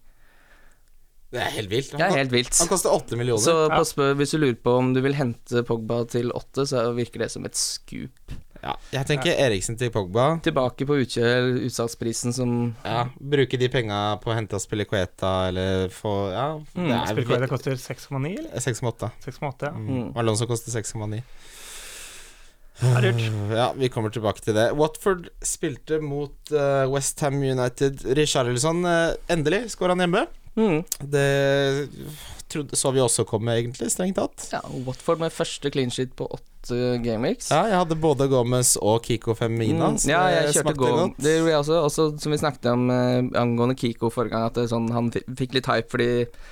Det er helt vilt.
Det er
Han,
helt vilt.
han koster åtte millioner.
Så pass på, hvis du lurer på om du vil hente Pogba til 8, så virker det som et skup.
ja, jeg tenker Eriksen til Pogba.
Tilbake på utkjøl, utsalgsprisen som
Ja, Bruke de penga på å hente Aspilicueta eller få Ja,
Mm,
det
Spillkveld
er Eh,
koster 6,9 eller
6,8.
6,8? ja.
Mm.
Mm. Alonso koster 6,9.
Det er dyrt.
Ja, vi kommer tilbake til det. Watford spilte mot eh, West Ham United. Richarlison, eh, endelig skåra han hjemme.
mm.
Det trodde, så vi også komme, egentlig, strengt tatt.
Ja, Watford med første clean sheet på åtte gameweeks.
Ja, jeg hadde både Gomez og Kiko Femina. så
Mm. ja, jeg
det
kjørte
smakte
go.
godt.
Det gjorde jeg også. Også som vi snakket om eh, angående Kiko forrige gang, at det, er sånn, han fi- fikk litt hype fordi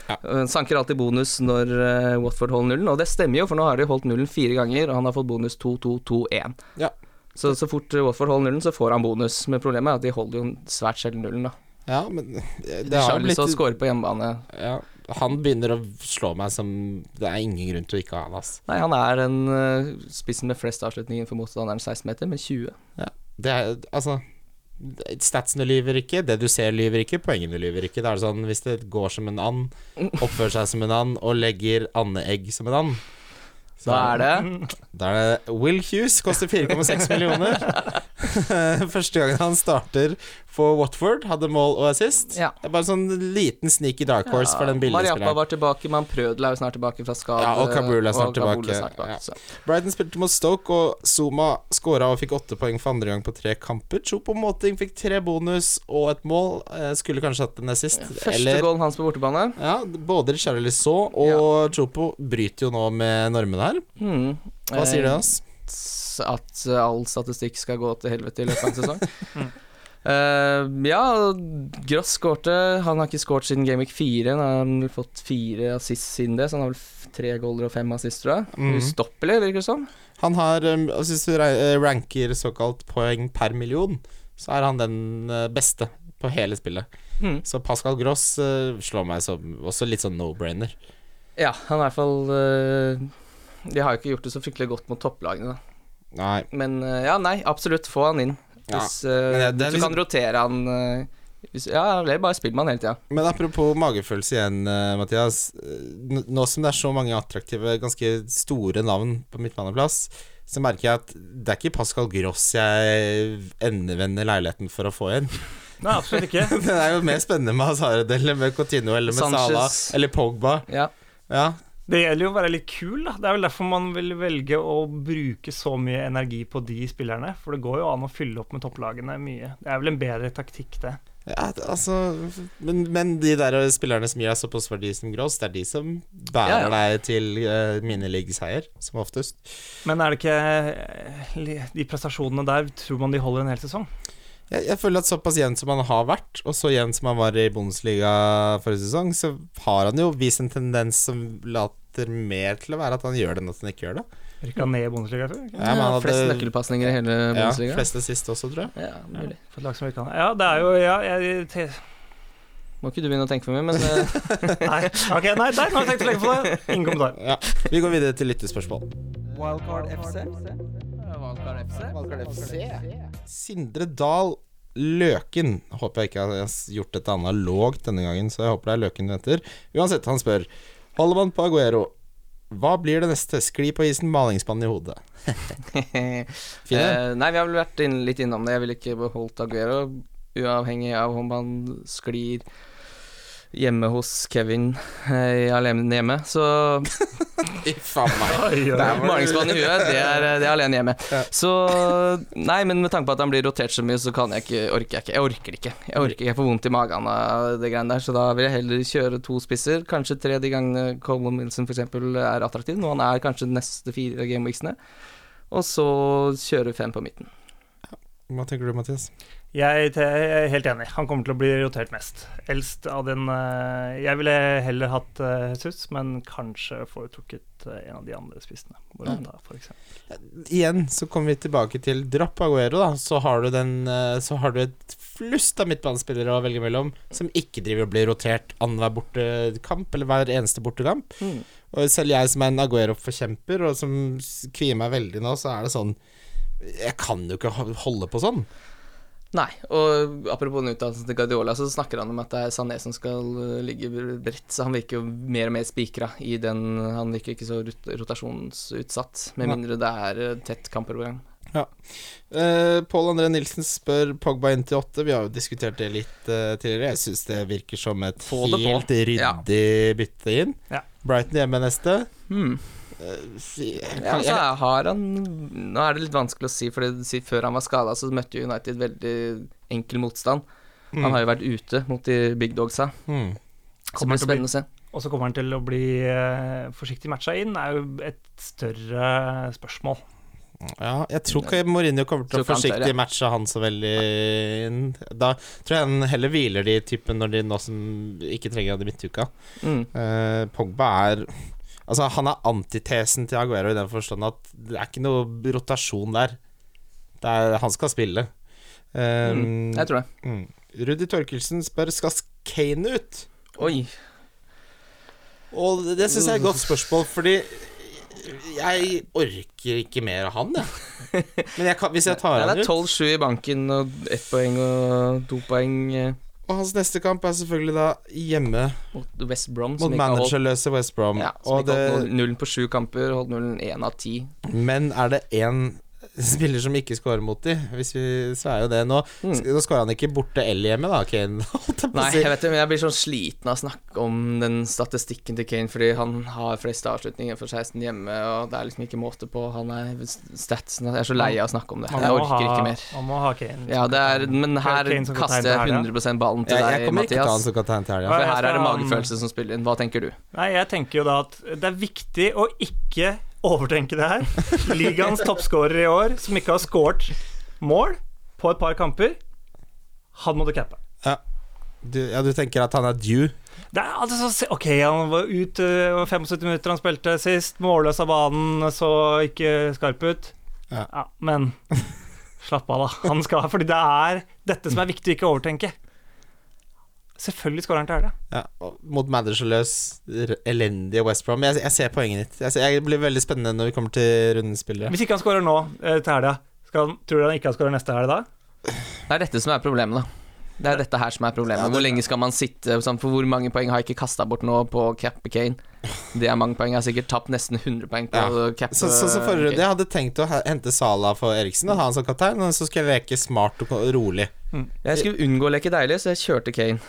Ja.
eh, sanker alltid bonus når eh, Watford holder nullen. Og det stemmer jo, for nå har de holdt nullen fire ganger, og han har fått bonus 2-2-2-1.
Ja.
Så så fort eh, Watford holder nullen, så får han bonus. Men problemet er at de holder jo svært sjelden nullen, da.
Ja, men det,
De
det har
har
blitt
lyst til å score på hjemmebane.
ja, Han begynner å slå meg som Det er ingen grunn til å ikke ha han, ass.
Nei, han er den eh, spissen med flest avslutninger for motstanderen 16 meter, med 20.
Det er, altså Statsene lyver ikke, det du ser lyver ikke, poengene lyver ikke. Da er det sånn, Hvis det går som en and, oppfører seg som en and og legger andeegg som en and så- Mm.
Da er det
Da er det Will Hughes, koster 4,6 millioner. [laughs] Første gangen han starter for Watford, hadde mål og assist.
Ja.
Det er bare sånn liten sneaky dark horse for den
Mariappa
billigspilleren.
var tilbake, men Prødel er jo snart tilbake fra skade.
Ja, og Kabul er snart
og Kabul
tilbake. Ja.
så.
Brighton spilte mot Stoke, og Zuma skåra og fikk åtte poeng for andre gang på tre kamper. Chopo Moting fikk tre bonus og et mål. Eh, Skulle kanskje hatt en assist.
Første goalen hans på bortebane.
Ja, både Charlie Lisson og Chopo bryter jo nå med normene her.
Hmm.
Hva sier
Eh,
det oss?
at eh, all statistikk skal gå til helvete i løpet av en
[laughs]
sesong. Eh, ja, Gross skårte. Han har ikke skåret siden Game Week 4. Han har vel fått fire assist siden det, så han har vel f- tre goaler og fem assist, tror jeg.
Mhm.
Ustoppelig, virker det som.
Han har, um, altså, hvis du ra- eh, ranker såkalt poeng per million, så er han den eh, beste på hele spillet.
Mhm.
Så Pascal Gross eh, slår meg som også litt sånn no-brainer.
Ja, han er i hvert fall eh, De har jo ikke gjort det så fryktelig godt mot topplagene, da.
Nei.
Men eh, ja, nei, absolutt, få han inn.
Ja,
Hvis, eh,
men det- det er
hvis du
liksom-
kan rotere han eh, hvis, Ja, eller bare spill med han hele tida.
Men apropos magefølelse igjen, eh, Mathias. Eh, n- Nå som det er så mange attraktive, ganske store navn på midtbaneplass, så merker jeg at det er ikke Pascal Gross jeg endevender leiligheten for å få igjen.
Nei, absolutt ikke.
[laughs] Det er jo mer spennende med Hazard eller med Coutinho eller med
Sanchez.
Salah eller Pogba.
Ja.
Ja,
Det gjelder jo å være litt kul, da. Det er vel derfor man vil velge å bruke så mye energi på de spillerne. For det går jo an å fylle opp med topplagene mye. Det er vel en bedre taktikk, det.
Ja, det- altså men, men de der spillerne som gir deg såpass verdi som Gross, det er de som bærer
Ja, ja.
deg til uh, minileague-seier, som oftest.
Men er det ikke eh, li- De prestasjonene der, tror man de holder en hel sesong?
Jeg, jeg føler at såpass jevn som han har vært, og så jevn som han var i Bundesliga forrige sesong, så har han jo vist en tendens som later mer til å være at han gjør det enn at han ikke gjør det.
Rykka ned i Bundesliga før? ikke?
Ja, men han hadde-
flest nøkkelpasninger i hele
Ja,
Bundesliga.
fleste sist også, tror jeg.
Ja, mulig.
For et lag som rykka ned. Ja, det er jo ja, jeg, te-
Må ikke du begynne å tenke for mye, men eh,
Nei, ok, nei, der har jeg tenkt å legge på det. Ingen kommentar.
Ja. Vi går videre til lyttespørsmål.
Wildcard FC? Wildcard FC?
Sindre Dahl Løken Håper jeg ikke har gjort dette analogt denne gangen, så jeg håper det er Løken du venter. Uansett, han spør Holder man på Aguero, hva blir det neste? Skli på isen, malingsspann i hodet.
[laughs]
Fin, den.
Eh, nei, vi har vel vært inn, litt innom det. Jeg ville ikke beholdt Aguero, uavhengig av om han sklir hjemme hos Kevin eh, alene hjemme.
[laughs]
Så
Faen meg.
Oi, oi,
Der
oi.
var det.
malingsbanen i huet, det er, eh, det er alene hjemme.
Ja.
Så Nei, men med tanke på at han blir rotert så mye, så kan jeg ikke, orker jeg ikke. Jeg orker ikke. Jeg orker ikke, jeg får vondt i magen av det greiene der, så da vil jeg heller kjøre to spisser. Kanskje tre de gangene Colin Wilson f.eks. er attraktiv, nå han er kanskje de neste fire gameweeksene. Og så kjøre fem på midten.
Hva tenker du, Mathias?
Jeg, te- jeg er helt enig. Han kommer til å bli rotert mest. Eldst av den eh, Jeg ville heller hatt eh, Jesus, men kanskje foretrukket eh, en av de andre spissene. Morata, for eksempel.
Igjen så kommer vi tilbake til dropp Aguero, da. Så har du, den, eh, så har du et flust av midtbanespillere å velge mellom som ikke driver og blir rotert annenhver bortekamp eller hver eneste bortekamp. Og selv jeg som er en Aguero-forkjemper, og som s- kvier meg veldig nå, så er det sånn Jeg kan jo ikke ho- holde på sånn.
Nei, og apropos den utdannelsen til Guardiola, så snakker han om at det er Sané som skal øh, ligge bredt, så han virker jo mer og mer spikra i den Han virker ikke så rot rotasjonsutsatt, med
Nei.
mindre det er øh, tett kamper på gang.
Uh, Pål André Nilsen spør Pogba inn til åtte. Vi har jo diskutert det litt eh, tidligere. Jeg syns det virker som et
Få det på.
helt
Ja.
ryddig bytte inn.
Ja.
Brighton hjemme neste.
Hmm.
Si-
Ja,
kan-
altså, har han Nå er det litt vanskelig å si, for det- si- før han var skada, så møtte jo United veldig enkel motstand. Han har jo vært ute mot de big dogsa.
Mm.
Så det
Kommer
blir
til å bli-
spennende å se.
Og så kommer han til å bli eh, forsiktig matcha inn, er jo et større spørsmål.
Ja, jeg tror ikke Mourinho kommer til å
Tror ikke han tør,
forsiktig
ja.
matche han så veldig inn. Da tror jeg han heller hviler de typen når de nå som ikke trenger han i midtuka.
Mm.
Eh, Pogba er Altså, han er antitesen til Aguero i den forstand at det er ikke noe rotasjon der. Det er, han skal spille. Eh,
Jeg tror det.
mm. Rudi Torkelsen spør Skal Kane ut.
Oi.
Og det syns jeg er et
[laughs]
godt spørsmål, fordi jeg orker ikke mer av han, jeg.
[laughs]
Men jeg kan, hvis jeg tar
Nei,
han
det
ut
er 12-7 i banken, og ett poeng og to poeng eh,
Og hans neste kamp er selvfølgelig da hjemme
mot West Brom. som
mot
ikke har holdt-
managerløse West Brom.
Ja, som
og
ikke holdt
det,
null- nullen på sju kamper, holdt nullen én av ti.
men er det én spiller som ikke scorer mot de, hvis vi sveier jo det nå
Mm.
sk- Nå scorer han ikke borte eller hjemme, da, Kane. [laughs] Holdt jeg på
Nei,
å si.
jeg vet det, men jeg blir sånn sliten av å snakke om den statistikken til Kane, fordi han har flest avslutninger for 16 hjemme, og det er liksom ikke måte på. Han er statsen Jeg er så lei av å snakke om det.
Man
Jeg
må
orker
ha-
ikke mer.
Man må ha Kane. liksom.
Ja, det er, men her
Kane som kaptein
kaster
til
jeg
helga.
100 ballen til
jeg, jeg
deg,
kommer ikke til å ta han
Mathias.
som kaptein til helga.
For
Nei, jeg
her er det
skal-
magefølelse som spiller inn. Hva tenker du?
Nei, jeg tenker jo da at det er viktig å ikke overtenke
[laughs]
det her. Ligaens toppskårer i år, som ikke har skåret mål på et par kamper, han må du cappe.
Ja. Du, ja, du tenker at han er due?
Det er altså så, se- Ok, han var ut øh, 75 minutter han spilte sist. Målløs av banen, så ikke skarp ut.
Ja.
Ja, men slapp av, da. Han skal, fordi det er dette som er viktig å ikke overtenke. Selvfølgelig skårer han til helga.
Ja, og mot managerløs, r- elendige West Brom. Jeg, jeg ser poenget ditt. Jeg, ser, jeg blir veldig spennende når vi kommer til rundens spillere.
Hvis ikke han skårer nå eh, til helga, skal han- tror du han ikke har skåret neste helg da?
Det er dette som er problemet, da. Det er dette her som er problemet. Hvor lenge skal man sitte? sånn, For hvor mange poeng har jeg ikke kasta bort nå på cap Kane? Det er mange poeng. Jeg har sikkert tapt nesten 100 poeng på
Ja.
cap. eh,
Så, så, så forrige runde, Jeg hadde tenkt å he- hente Sala for Eriksen og ha han som kaptein, og så skulle jeg leke smart og ko- rolig.
Jeg skulle unngå å leke deilig, så jeg kjørte Kane.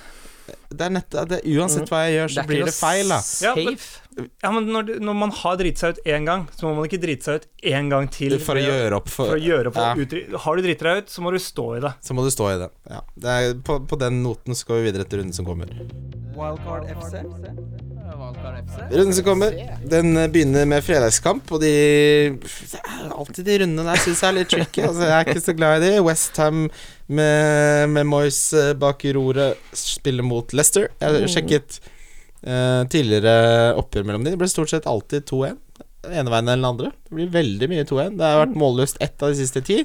Det er nett, det, uansett hva jeg gjør, så
Mm. ikke
blir
noe
det feil, da.
Ja,
safe.
men- Ja, men når, du- når man har driti seg ut én gang, så må man ikke drite seg ut én gang til.
For å gjøre opp for,
for å gjøre på
Ja,
utri- Har du driti deg ut, så må du stå i det.
Så må du stå i det. Ja. det er, på, på den noten så går vi videre til runden som kommer. Runden som kommer, den eh, begynner med fredagskamp, og de det er Alltid de rundene der syns jeg er litt tricky. Altså, jeg er ikke så glad i de. Westham med, med Moyes eh, bak roret spiller mot Leicester. Jeg har sjekket eh, tidligere oppgjør mellom de. Det blir stort sett alltid 2-1. Den ene veien eller den andre. Det blir veldig mye 2-1. Det har vært målløst ett av de siste ti,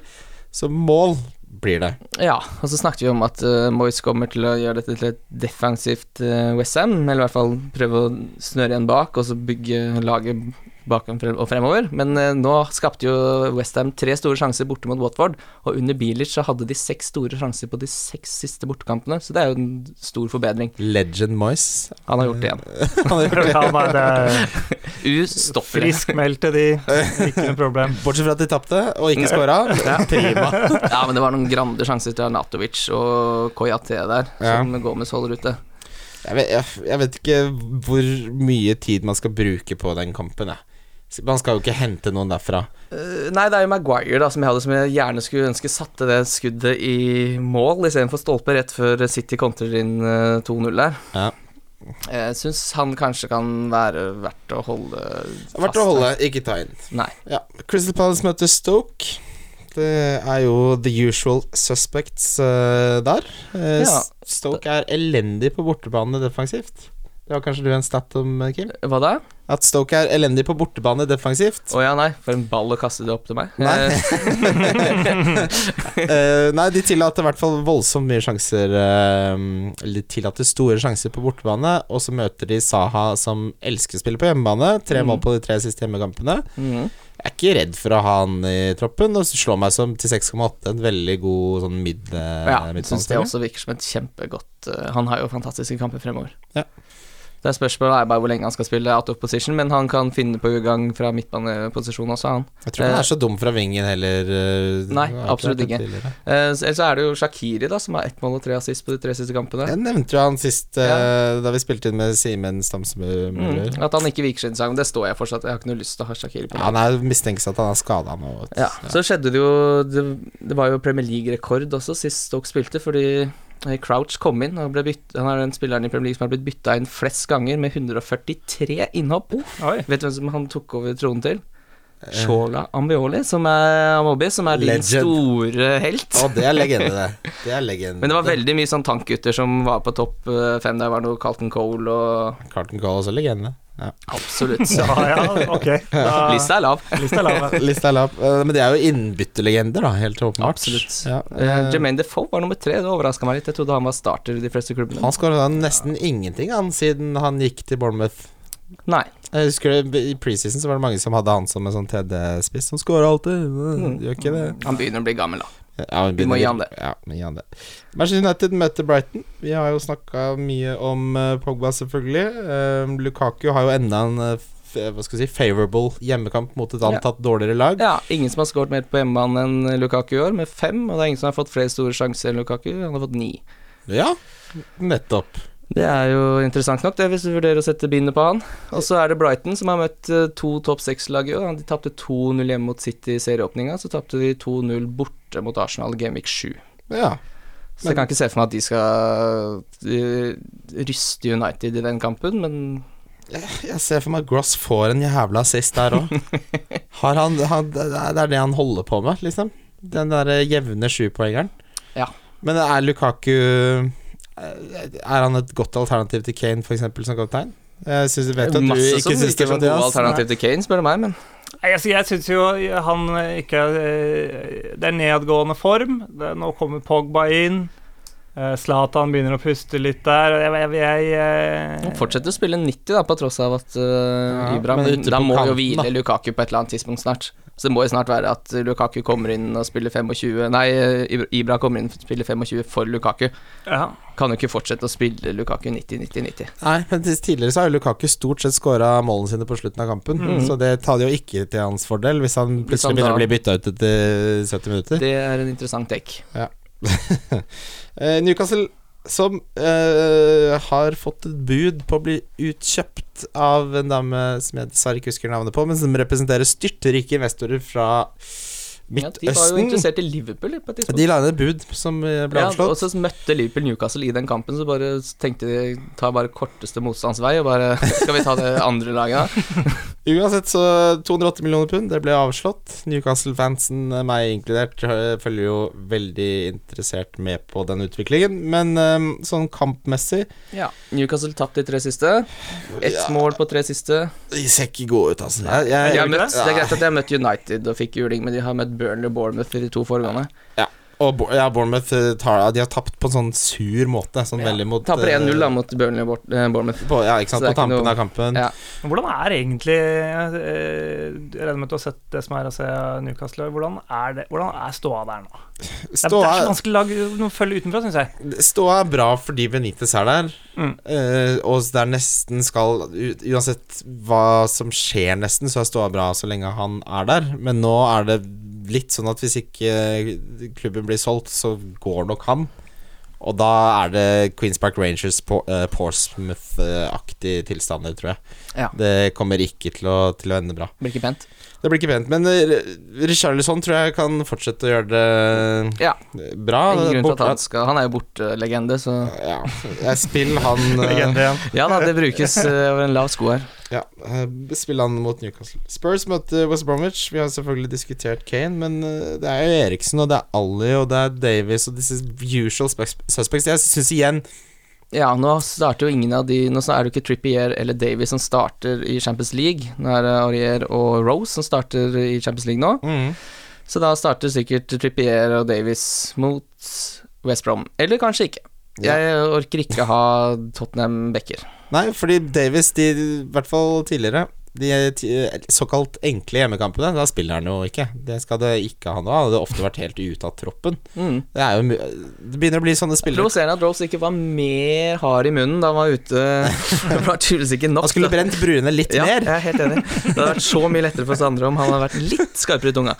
så mål blir det.
Ja, og så snakket vi om at uh, Moyes kommer til å gjøre dette til et defensivt uh, Westham, eller i hvert fall prøve å snøre igjen bak, og så bygge laget bakom fre- og fremover. Men eh, nå skapte jo Westham tre store sjanser borte mot Watford, og under Bilic så hadde de seks store sjanser på de seks siste bortekampene, så det er jo en stor forbedring.
Legend Moyes.
Han har gjort det igjen.
Han har gjort det.
Ja, nei, det er
Ustoppelig.
frisk meld til de. Ikke noe problem.
Bortsett fra at de tapte og ikke scora.
[laughs]
Prima.
Ja, men det var noen grande sjanser til Arnatovic og Koyate der,
Ja.
som Gomez holder ute.
Jeg vet, jeg, jeg vet ikke hvor mye tid man skal bruke på den kampen. Jeg. Man skal jo ikke hente noen derfra.
Eh, Nei, det er jo Maguire da, som jeg hadde som jeg gjerne skulle ønske satte det skuddet i mål istedenfor stolpe rett før City kontrer inn eh, 2-0 der.
Ja.
Jeg syns han kanskje kan være verdt å holde fast.
Verdt å holde, ikke ta inn.
Nei.
Ja. Crystal Palace møter Stoke. Det er jo the usual suspects eh, der. Eh,
Ja.
Stoke er elendig på bortebane defensivt. Det var kanskje du en stat om, eh, Kim?
Hva da?
At Stoke er elendig på bortebane defensivt.
Å ja, nei. For en ball å kaste det opp til meg.
Nei. [laughs]
Eh,
Eh, nei, de tillater i hvert fall voldsomt mye sjanser eh, Eller de tillater store sjanser på bortebane, og så møter de Saha, som elsker å spille på hjemmebane. Tre
Mm.
mål på de tre siste hjemmekampene.
mhm.
Jeg er ikke redd for å ha han i troppen, og slår meg som til 6,8 en veldig god sånn mid,
Ja,
eh,
jeg syns det
midtbanespiller.
også virker som et kjempegodt eh, Han har jo fantastiske kamper fremover.
Ja.
Det er Spørsmålet er bare hvor lenge han skal spille out of position, men han kan finne på gang fra midtbaneposisjon også, han.
Jeg tror ikke han er så dum fra vingen heller. eh,
Eh, Nei,
har
absolutt
vært det
ikke.
tidligere.
Eh, så- Ellers så er det jo Shakiri da som har ett mål og tre assist på de tre siste kampene.
Jeg nevnte jo han sist eh, da vi spilte inn med Simen Stamsmøller.
Mm. At han ikke viker sin sang, det står jeg fortsatt. Jeg har ikke noe lyst til å ha Shakiri på
Ja,
laget.
han er mistenkes at han er skada nå. vet du.
Ja, så skjedde det jo Det, det var jo Premier League-rekord også sist Stoke spilte, fordi eh, Crouch kom inn og ble bytt, Han er den spilleren i Premier League som har blitt bytta inn flest ganger, med 143 innhopp.
Oi.
Vet du hvem som han tok over tronen til? Eh. Shola Ambioli, som er, Amobi, som er din
Legend.
store helt.
Å, det er legende, det. Det er legende.
Men det var veldig mye sånn tankgutter som var på topp eh, fem. Der var noe Carlton Cole og
Carlton Cole også legende. Ja.
Absolutt. [laughs]
Ja, ja, [laughs] ok. Da,
Lista er lav.
lista er lav. ja.
Lista er lav. Eh, Men de er jo innbytterlegender, da, helt åpenbart.
Absolutt.
Ja.
Eh,
eh,
Jermaine Defoe var nummer tre. Det overraska meg litt. Jeg trodde han var starter i de fleste klubbene.
han skåra nesten ingenting han siden han gikk til Bournemouth.
Nei.
Jeg husker det, I preseason så var det mange som hadde han som en sånn TD-spiss. Han skåra alltid. Mm, Gjør ikke det.
Han begynner å bli gammel, da.
Ja, men
Vi må
begynner-
gi han det.
Ja, men gi han det. Manchester United møter Brighton. Vi har jo snakka mye om eh, Pogba, selvfølgelig. Eh, Lukaku har jo enda en eh, f- hva skal vi si, favorable hjemmekamp mot et antatt dårligere lag.
Ja, ingen som har skåret mer på hjemmebane enn Lukaku i år, med fem. Og det er ingen som har fått flere store sjanser enn Lukaku. Han har fått ni.
Ja, nettopp.
Det er jo interessant nok, det, hvis du vurderer å sette bindet på han. Og så er det Brighton, som har møtt eh, to topp seks-lag i år. De tapte 2-0 hjemme mot City i serieåpninga, så tapte de 2-0 borte mot Arsenal i Gameweek 7.
Ja.
Så jeg kan ikke se for meg at de skal eh, ryste United i den kampen, men
Jeg, jeg ser for meg at Gross får en jævla assist der [laughs] òg. det er det han holder på med, liksom. Den derre jevne sjupoengeren.
Ja.
Men er Lukaku eh, Er han et godt alternativ til Kane, f.eks., som kaptein? Jeg synes, jeg vet at du
Masse
ikke
som
syns det,
virker som gode
Mathias.
alternativ til Kane, spør du meg, men
Nei, altså, jeg syns jo han eh, ikke eh, Det er nedgående form. Det, nå kommer Pogba inn. Eh, Zlatan begynner å puste litt der. Jeg, jeg, jeg, eh,
han fortsetter å spille 90, da, på tross av at uh,
Ja,
Ibra
men
Men
ute
da
på
må jo
kanten,
hvile
da.
Lukaku på et eller annet tidspunkt snart. Så det må jo snart være at Lukaku kommer inn og spiller 25 Nei, eh, Ibra- Ibra kommer inn og spiller 25 for Lukaku.
ja.
Kan jo ikke fortsette å spille Lukaku 90-90-90.
Nei, men til- tidligere så har jo Lukaku stort sett skåra målene sine på slutten av kampen, så det tar det jo ikke til hans fordel hvis han
Mm. Hvis han
plutselig begynner
da-
å bli bytta ut etter 70 minutter.
Det er en interessant take.
Eh, Newcastle som eh, har fått et bud på å bli utkjøpt av en dame som jeg dessverre ikke husker navnet på, men som representerer styrtrike investorer fra
Ja, de var jo
Midtøsten.
interessert i Liverpool på et tidspunkt.
de la inn et bud som eh, ble
Ja, og
avslått.
så møtte Liverpool Newcastle i den kampen, så bare tenkte de ta bare korteste motstandsvei, og bare [laughs] Skal vi ta det andre laget, da?
Uansett, så 208 millioner pund, det ble avslått. Newcastle-fansen, eh, meg inkludert, eh, følger jo veldig interessert med på den utviklingen. Men eh, sånn kampmessig
Ja. Newcastle tapt de tre siste. Ett
Ja.
mål på tre siste.
De ser ikke gode ut, altså. Jeg,
De
jeg,
har møtt, det er
Ja.
greit at de har møtt United og fikk juling, men de har møtt Burnley og Bournemouth i de to foregående.
Og Bo- ja, Bournemouth eh, tar, de har tapt på en sånn sur måte. Sånn
Ja.
veldig mot
Taper
eh,
1-0 da mot Burnley og Bort- eh, Bournemouth.
På, ja, ikke
Så
sant,
det er
på
ikke
tampen
noe-
av kampen.
Ja.
Men Hvordan er egentlig eh, Jeg regner med at du har sett det som er å se Newcastle. Hvordan er, det, hvordan er ståa der nå? Det er, det er så
Ståa,
vanskelig å lage noe følge utenfra, syns jeg.
ståa er bra fordi Benitez er der,
Mm.
eh, og der nesten skal u- Uansett hva som skjer, nesten, så er ståa bra så lenge han er der. Men nå er det litt sånn at hvis ikke eh, klubben blir solgt, så går nok han. Og da er det Queens Park Rangers på, eh, Portsmouth-aktig tilstander, tror jeg.
Ja.
Det kommer ikke til å, til å ende bra.
Blir ikke pent.
Det blir ikke pent, men eh, Richarlison tror jeg kan fortsette å gjøre det eh,
Ja.
bra.
Ingen grunn til at
Borte-
han skal Han er jo bortelegende, så
ja. Jeg Spill han eh,
Legende igjen.
Ja da, det brukes eh, over en lav sko her.
ja, eh, Spill han mot Newcastle. Spurs møter West Bromwich. Vi har selvfølgelig diskutert Kane, men eh, det er jo Eriksen, og det er Ali, og det er Davies, og disse usual spes- suspects. Jeg syns igjen
Ja, nå starter jo ingen av de Nå er det jo ikke Trippier eller Davy som starter i Champions League. Nå er det Aurier og Rose som starter i Champions League nå. Så da starter sikkert Trippier og Davies mot West Brom. Eller kanskje ikke.
Ja.
Jeg orker ikke ha Tottenham backer.
Nei, fordi Davies, de, i hvert fall tidligere de ti- såkalt enkle hjemmekampene, da spiller han jo ikke. Det skal det ikke ha noe av. Det har ofte vært helt ute av troppen.
Mm.
Det, er jo, mu- det begynner å bli sånne spillere.
Provoserende at Rose ikke var mer hard i munnen da han var ute.
[laughs]
Det var tydeligvis ikke nok.
Han skulle
da.
brent Brune litt
ja, jeg
mer.
er helt enig. Det hadde vært så mye lettere for Sandre om han hadde vært litt skarpere i tunga.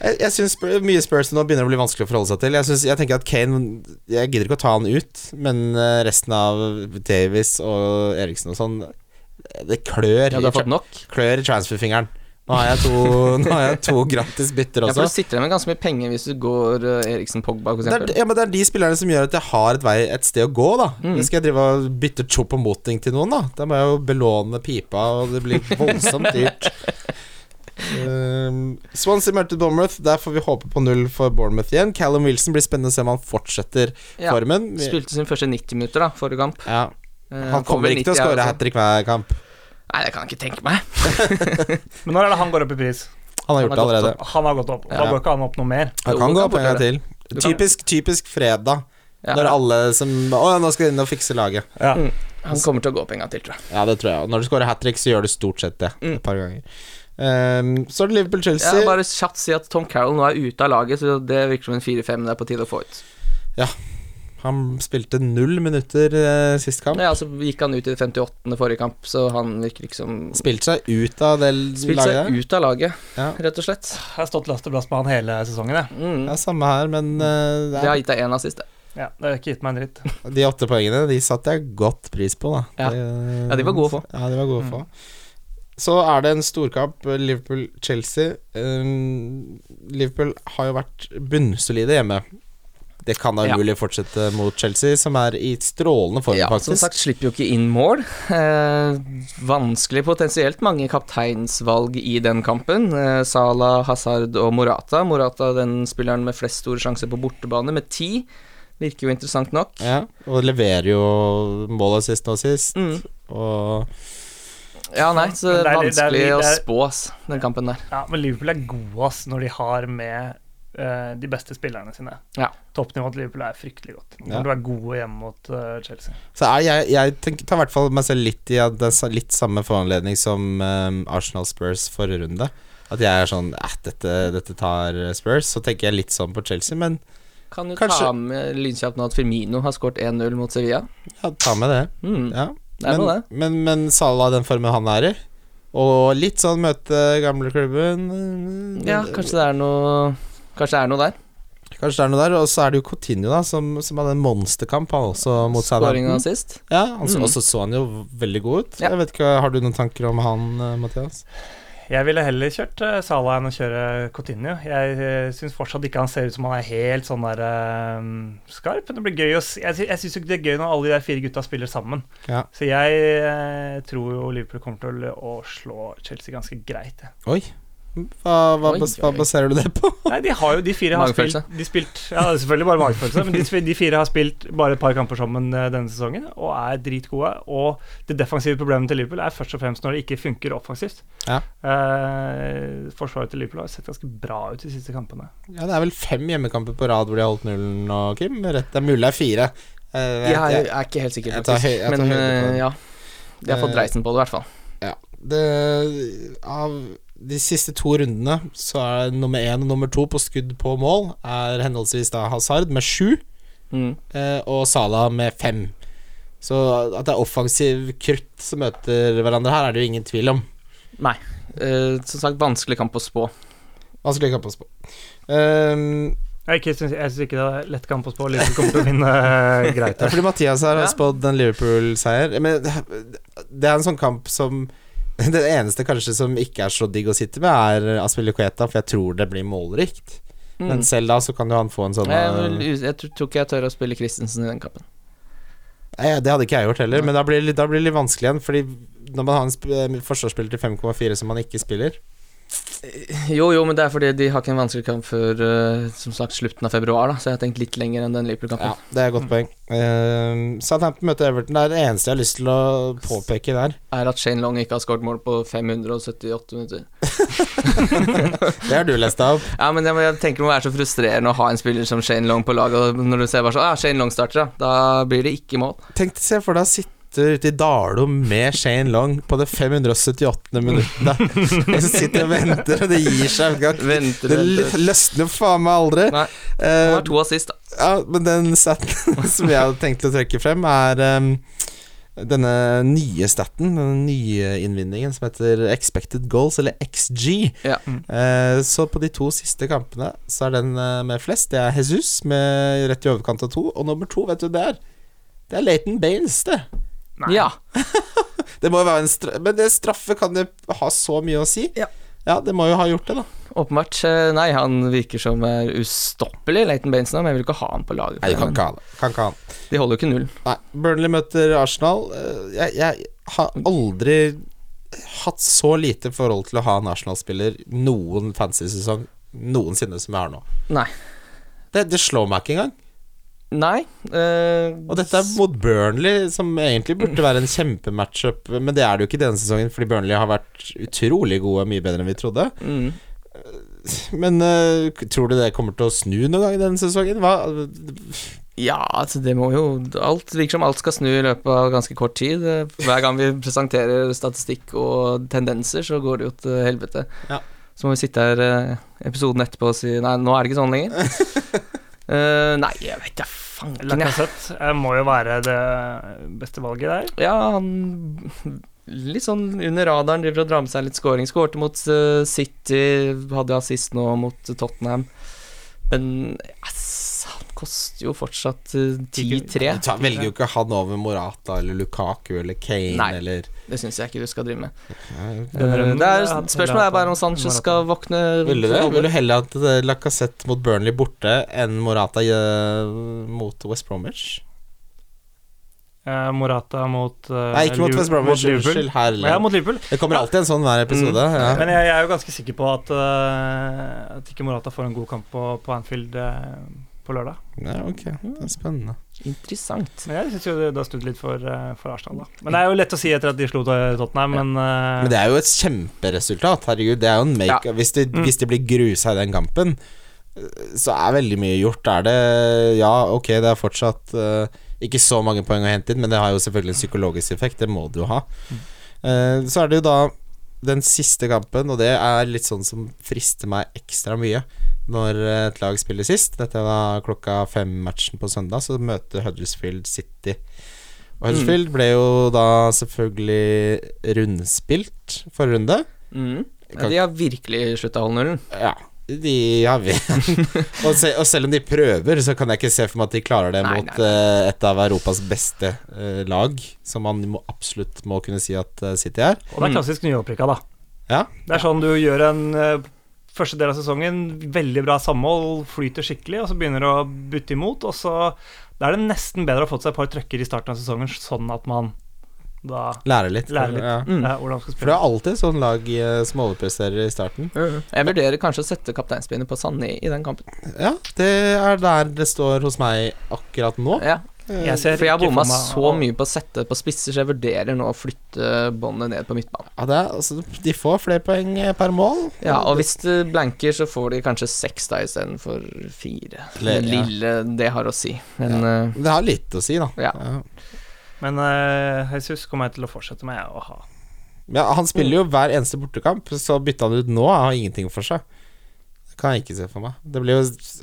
Jeg, jeg syns sp- mye Spurs nå begynner å bli vanskelig å forholde seg til. Jeg, synes, jeg tenker at Kane Jeg gidder ikke å ta han ut, men eh, resten av Davies og Eriksen og sånn Det klør,
Ja,
i
du har
tra-
fått nok?
klør i transferfingeren. Nå har jeg to, [laughs] nå har jeg to gratis bytter
Ja, for
også.
du sitter igjen med ganske mye penger hvis du går eh, Eriksen Pogba, for
Det er,
eksempel.
ja, men det er de spillerne som gjør at jeg har et, vei, et sted å gå, da.
Mm.
Skal jeg drive og bytte chop og moting til noen, da? Da må jeg jo belåne pipa, og det
[laughs]
blir voldsomt dyrt. Um, Swansea møter Bournemouth. Der får vi håpe på null for Bournemouth igjen. Callum Wilson blir spennende å se om han fortsetter
Ja.
formen. Vi-
Spilte sin første 90 minutter da, forrige kamp.
Ja.
Eh,
Han kommer
vel
ikke til å
90 her
skåre
også.
hat trick hver kamp.
altså. Nei, det kan jeg ikke tenke meg.
Men når er det han går opp i pris?
Han har gjort
har
det
gått
allerede.
Han har gått opp. Da
Ja.
bør ikke han opp noe mer.
Han
Jo,
kan
han
gå
kan
opp en gang
fortsette.
til.
Du kan-
Typisk, typisk fredag,
Ja.
når alle som Å ja, nå skal de inn og fikse laget.
Ja.
Mm. Han kommer til å gå opp en gang til, tror jeg.
Ja, det tror jeg. Og når du scorer hat trick, så gjør du stort sett det
Mm.
et par ganger. Ehm, så er det Liverpool-Chelsea.
Jeg
Ja,
bare kjapt si at Tom Carroll nå er ute av laget, så det virker som en 4-5 det er på tide å få ut.
Han spilte null minutter eh, sist kamp.
Ja, så gikk han ut i det 58. forrige kamp, så han virker liksom
Spilte seg ut av det
Spilt seg
laget.
ut av laget,
Ja.
rett og slett.
Jeg har stått last og blast med han hele sesongen. Jeg.
Mm.
Ja, samme her, men eh, det
Det har gitt deg én assist, det.
Ja, det har ikke gitt meg en dritt.
er, de åtte poengene De satte jeg godt pris på, da.
Ja.
Det-
Ja, de var gode å få. Mm.
Ja, de var gode å få. Så er det en storkamp, eh, Liverpool-Chelsea. Ehm, Liverpool har jo vært bunnsolide hjemme. Det kan da umulig fortsette mot Chelsea, som er i strålende form,
Ja,
faktisk.
som sagt slipper jo ikke inn mål. Eh, vanskelig potensielt mange kapteinsvalg i den kampen. Eh, Salah, Hazard og Morata. Morata den spilleren med flest store sjanser på bortebane, med ti. Virker jo interessant nok.
Ja, og leverer jo målet sist og sist.
Mm.
Og
Ja, nei, så
Men det er- det er-
vanskelig
det er-
å spå, ass, den kampen der.
[laughs] Ja, men Liverpool er gode ass, når de har med eh, de beste spillerne sine.
Ja.
Toppnivået til Liverpool er fryktelig godt. Når
Ja.
du er gode hjemme mot eh, Chelsea.
så er jeg, jeg tenker, tar i hvert fall meg selv litt i at det er sa- litt samme foranledning som eh, Arsenal Spurs forrige runde. At jeg er sånn eh, dette, dette tar Spurs. Så tenker jeg litt sånn på Chelsea, men
Kan jo
Kanskje-
ta med lynkjapt nå at Firmino har skåret 1-0 mot Sevilla.
ja, ta med det.
Mm.
Ja.
Det er
men,
noe, det.
Men, men Salah, den formen han er i, og litt sånn møte gamleklubben
Ja, kanskje det er noe Kanskje det er noe der.
Kanskje det er noe der. Og så er det jo Coutinho da, som, som hadde en monsterkamp han også mot
Skåringa
Southampton.
sist.
Ja, han så,
Mm.
Og så så han jo veldig god ut.
Ja.
Jeg vet ikke, Har du noen tanker om han, eh, Mathias?
Jeg ville heller kjørt eh, Salah enn å kjøre Coutinho. Jeg uh, syns fortsatt ikke han ser ut som han er helt sånn der eh, skarp. Men det blir gøy å s- Jeg, sy- jeg syns jo ikke det er gøy når alle de der fire gutta spiller sammen.
Ja.
Så jeg eh, tror jo Liverpool kommer til å slå Chelsea ganske greit. jeg.
Oi. Hva, hva,
Oi,
bas, hva
oi.
baserer du det på?
Nei, de har jo De fire har
Magefølelse.
spilt, de spilt Ja, det er selvfølgelig bare magefølelse, men de, sp- de fire har spilt bare et par kamper sammen eh, denne sesongen og er dritgode. Og det defensive problemet til Liverpool er først og fremst når det ikke funker offensivt.
Ja.
Eh, forsvaret til Liverpool har sett ganske bra ut de siste kampene.
Ja, Det er vel fem hjemmekamper på rad hvor de har holdt nullen nå, Kim? Rett, det er mulig det er fire. Eh, jeg-
Jeg
jeg-
er ikke helt sikker,
jeg tar høy-
faktisk.
jeg tar
Men
høyde på
eh,
det.
ja. De har fått
Eh,
dreisen på det, i hvert fall.
det, av de siste to rundene så er nummer én og nummer to på skudd på mål er henholdsvis da Hazard med sju
Mm.
eh, og Salah med fem. Så at det er offensiv krutt som møter hverandre her, er det jo ingen tvil om.
Eh, som sagt, vanskelig kamp å spå.
Vanskelig kamp å spå. Um,
Jeg, ikke, syns- jeg syns ikke det er lett kamp å spå. Liverpool kommer til å vinne eh, greit.
Ja, [laughs] fordi Mathias her har
Ja.
spådd en Liverpool-seier. Men [laughs] det det er en sånn kamp som [laughs] Det eneste kanskje som ikke er så digg å sitte med, er Aspilicueta, for jeg tror det blir målrikt.
Mm.
Men selv da så kan jo han få en sånn
jeg, er vel
eh,
us- jeg tror tror ikke jeg tør å spille Christensen i den kampen.
Nei, Det hadde ikke jeg gjort heller, men da blir, det litt- da blir det litt vanskelig igjen. Fordi når man har en sp eh, forsvarsspiller til 5,4 som man ikke spiller
Jo, jo, men det er fordi de har ikke en vanskelig kamp før eh, som sagt slutten av februar, da, så jeg har tenkt litt lenger enn den
Ja,
Liverpool-kampen.
det er et godt poeng. Uh, Southampton møter Everton. Det er det eneste jeg har lyst til å påpeke der.
Er at Shane Long ikke har skåret mål på 578 minutter.
Det har du lest av.
Ja, men jeg, jeg tenker det må være så frustrerende å ha en spiller som Shane Long på laget, og når du ser bare sånn ah, Shane Long starter, ja. Da blir det ikke mål.
Tenk deg se for deg å sitte ute i Dalo med Shane Long på det 578.
[laughs]
minuttet. Og så sitter jeg og venter, og det gir seg. vet du hva.
Venter,
Det
venter.
løsner faen meg aldri.
Nei. Han
Eh,
har to assist, da.
ja, men den staten [laughs] som jeg hadde tenkt å trekke frem, er ehm, denne nye staten, den nye innvinningen som heter Expected Goals, eller XG.
Ja.
Eh, så på de to siste kampene så er den eh, med flest. Det er Jesus med rett i overkant av to. Og nummer to, vet du, det er Det er Leighton Baines, det.
Nei.
Ja.
Det må jo være en stra Men det straffe kan det ha så mye å si.
Ja.
Ja, det må jo ha gjort det, da.
Åpenbart. eh, Nei, han virker som er ustoppelig, Leighton Baines nå, men jeg vil ikke ha han på laget.
kan ikke ha det. Kan ikke ha det.
De holder jo ikke nullen.
Nei, Burnley møter Arsenal. Eh, Jeg, jeg har aldri hatt så lite forhold til å ha en Arsenal-spiller noen fancy sesong noensinne som jeg har nå.
Nei.
Det, det slår meg ikke engang.
Nei. eh,
Og dette er mot Burnley, som egentlig burde være en kjempematchup, men det er det jo ikke denne sesongen, fordi Burnley har vært utrolig gode, mye bedre enn vi trodde.
mm.
Men eh, tror du det kommer til å snu noen gang denne sesongen? Hva,
Ja, altså det må jo alt, Det virker som alt skal snu i løpet av ganske kort tid. Eh, Hver gang vi presenterer statistikk og tendenser, så går det jo til helvete.
Ja.
Så må vi sitte her eh, episoden etterpå og si nei, nå er det ikke sånn lenger.
[laughs]
Eh, nei, jeg vet da fanken, jeg.
Lacassette eh, må jo være det beste valget der.
Ja, han Litt sånn under radaren, driver og drar med seg litt scoring. Skårte mot eh, City, hadde assist nå mot Tottenham. Men ass, han koster jo fortsatt eh, 10-3.
Du tar, velger jo ikke han over Morata eller Lukaku eller Kane
Nei.
eller
Det syns jeg ikke du skal drive med.
Den
Eh,
drømmen
Det er,
hadde-
spørsmålet er bare om
Morata.
Sanchez skal våkne
Ville du,
til alvor.
ville du heller at eh, Lacazette mot Burnley borte enn Morata eh, mot West Bromwich?
Eh, Morata mot eh,
Nei, ikke mot
Liv-
West Bromwich.
Liverpool.
Unnskyld, herlig.
Ja, mot Liverpool.
Det kommer alltid en sånn hver episode.
Mm. Men
Ja.
jeg, jeg er jo ganske sikker på at, eh, at ikke Morata får en god kamp på, på Anfield eh, på lørdag.
Ja, ok, det er spennende.
Interessant.
Men jeg syns jo det det har snudd litt for, eh, for Arsenal, da. Men det er jo lett å si etter at de slo Tottenham, men, eh,
Men det er jo et kjemperesultat. Herregud, det er jo en make hvis, de,
Mm.
hvis de blir grusa i den kampen, eh, så er veldig mye gjort. Da Er det Ja, ok, det er fortsatt eh, ikke så mange poeng å hente inn, men det har jo selvfølgelig en psykologisk effekt. Det må det jo ha.
Mm.
Eh, så er det jo da den siste kampen, og det er litt sånn som frister meg ekstra mye. Når eh, et lag spiller sist, dette var klokka fem-matchen på søndag, så møter Huddersfield City. Og Huddersfield ble jo da selvfølgelig rundspilt forrige runde.
Mm.
Kan-
De har virkelig slutta å holde nullen.
Ja, de har vi. [laughs] og, se, og selv om de prøver, så kan jeg ikke se for meg at de klarer det
Nei,
mot
nei,
eh, et av Europas beste eh, lag, som man må, absolutt må kunne si at eh, City er.
Og det er klassisk nyopprykka, da.
Ja.
Det er sånn du gjør en eh, første del av sesongen, veldig bra samhold, flyter skikkelig, og så begynner du å butte imot, og så Da er det nesten bedre å ha fått seg et par trøkker i starten av sesongen, sånn at man da
Lære litt.
lærer litt
Ja.
Mm.
eh, hvordan man skal
For det
spille.
er alltid sånn lag eh, som overpresterer i starten.
Jeg vurderer kanskje å sette kapteinspinnet på Sané i den kampen.
Ja, det er der det står hos meg akkurat nå.
Ja.
Jeg ser
For jeg har
ikke
bomma
for meg-
så mye på å sette på spisser, så jeg vurderer nå å flytte båndet ned på midtbanen.
Ja, det er, altså, de får flere poeng eh, per mål.
Ja, og hvis det blanker, så får de kanskje seks da istedenfor fire.
Le-
Det
ja.
lille det har å si. Men eh,
Det har litt å si, da.
Ja.
Men eh, Jesus kommer jeg til å fortsette med å ha.
Ja, han spiller jo hver eneste bortekamp, så bytta han ut nå. Han har ingenting for seg. Det kan jeg ikke se for meg. Det blir jo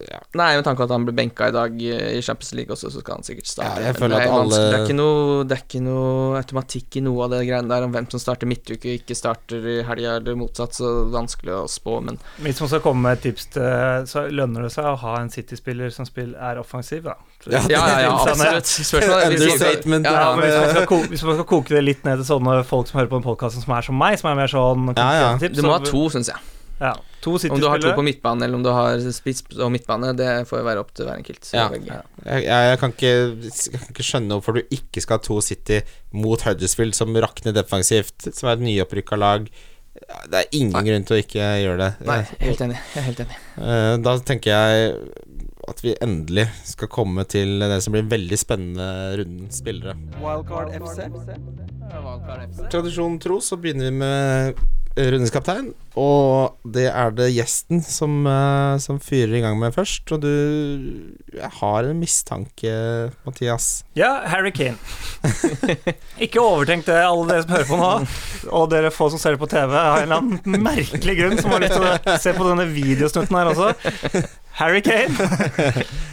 ja.
Nei, med tanke på at han ble benka i dag eh, i Champions League også, så skal han sikkert starte.
Ja, jeg
Men
føler
det,
at
er
alle-
vanskelig. det, er ikke noe, det er ikke noe automatikk i noe av det greiene der om hvem som starter midtuke og ikke starter i helga, eller motsatt, så det er vanskelig å spå, men
Hvis man skal komme med et tips, til, eh, så lønner det seg å ha en City-spiller som spill er offensiv, da. Så-
Ja,
Ja, ja,
[laughs]
ja,
Sané.
absolutt. Spørsmålet er-
Understatement.
Ja,
[laughs] Ja,
ja,
men hvis man, skal ko hvis man skal koke det litt ned til sånne folk som hører på den podkasten som er som meg, som er mer sånn
Ja, ja.
men Du må ha to, syns jeg.
Ja, to
Om du har to på
City-spillere.
midtbane, eller om du har spiss og midtbane, det får jo være opp til hver enkelt.
Ja.
Ja.
Jeg, jeg, jeg, kan ikke, jeg kan ikke skjønne hvorfor du ikke skal ha to City mot Huddersfield, som rakner defensivt, som er et nyopprykka lag. Det er ingen grunn til å ikke gjøre det.
Nei, helt enig. Jeg er helt enig.
Eh, Da tenker jeg at vi endelig skal komme til det som blir en veldig spennende runden spillere.
Wildcard FC? Wildcard FC.
Tradisjonen tro så begynner vi med rundens kaptein, og det er det gjesten som, eh, som fyrer i gang med først. Og du Jeg har en mistanke, Mathias.
Ja, Harry Kane. Ikke overtenk det, alle dere som hører på nå, og dere få som ser det på TV, av en eller annen merkelig grunn som har lyst til å se på denne videosnutten her også. Harry Kane.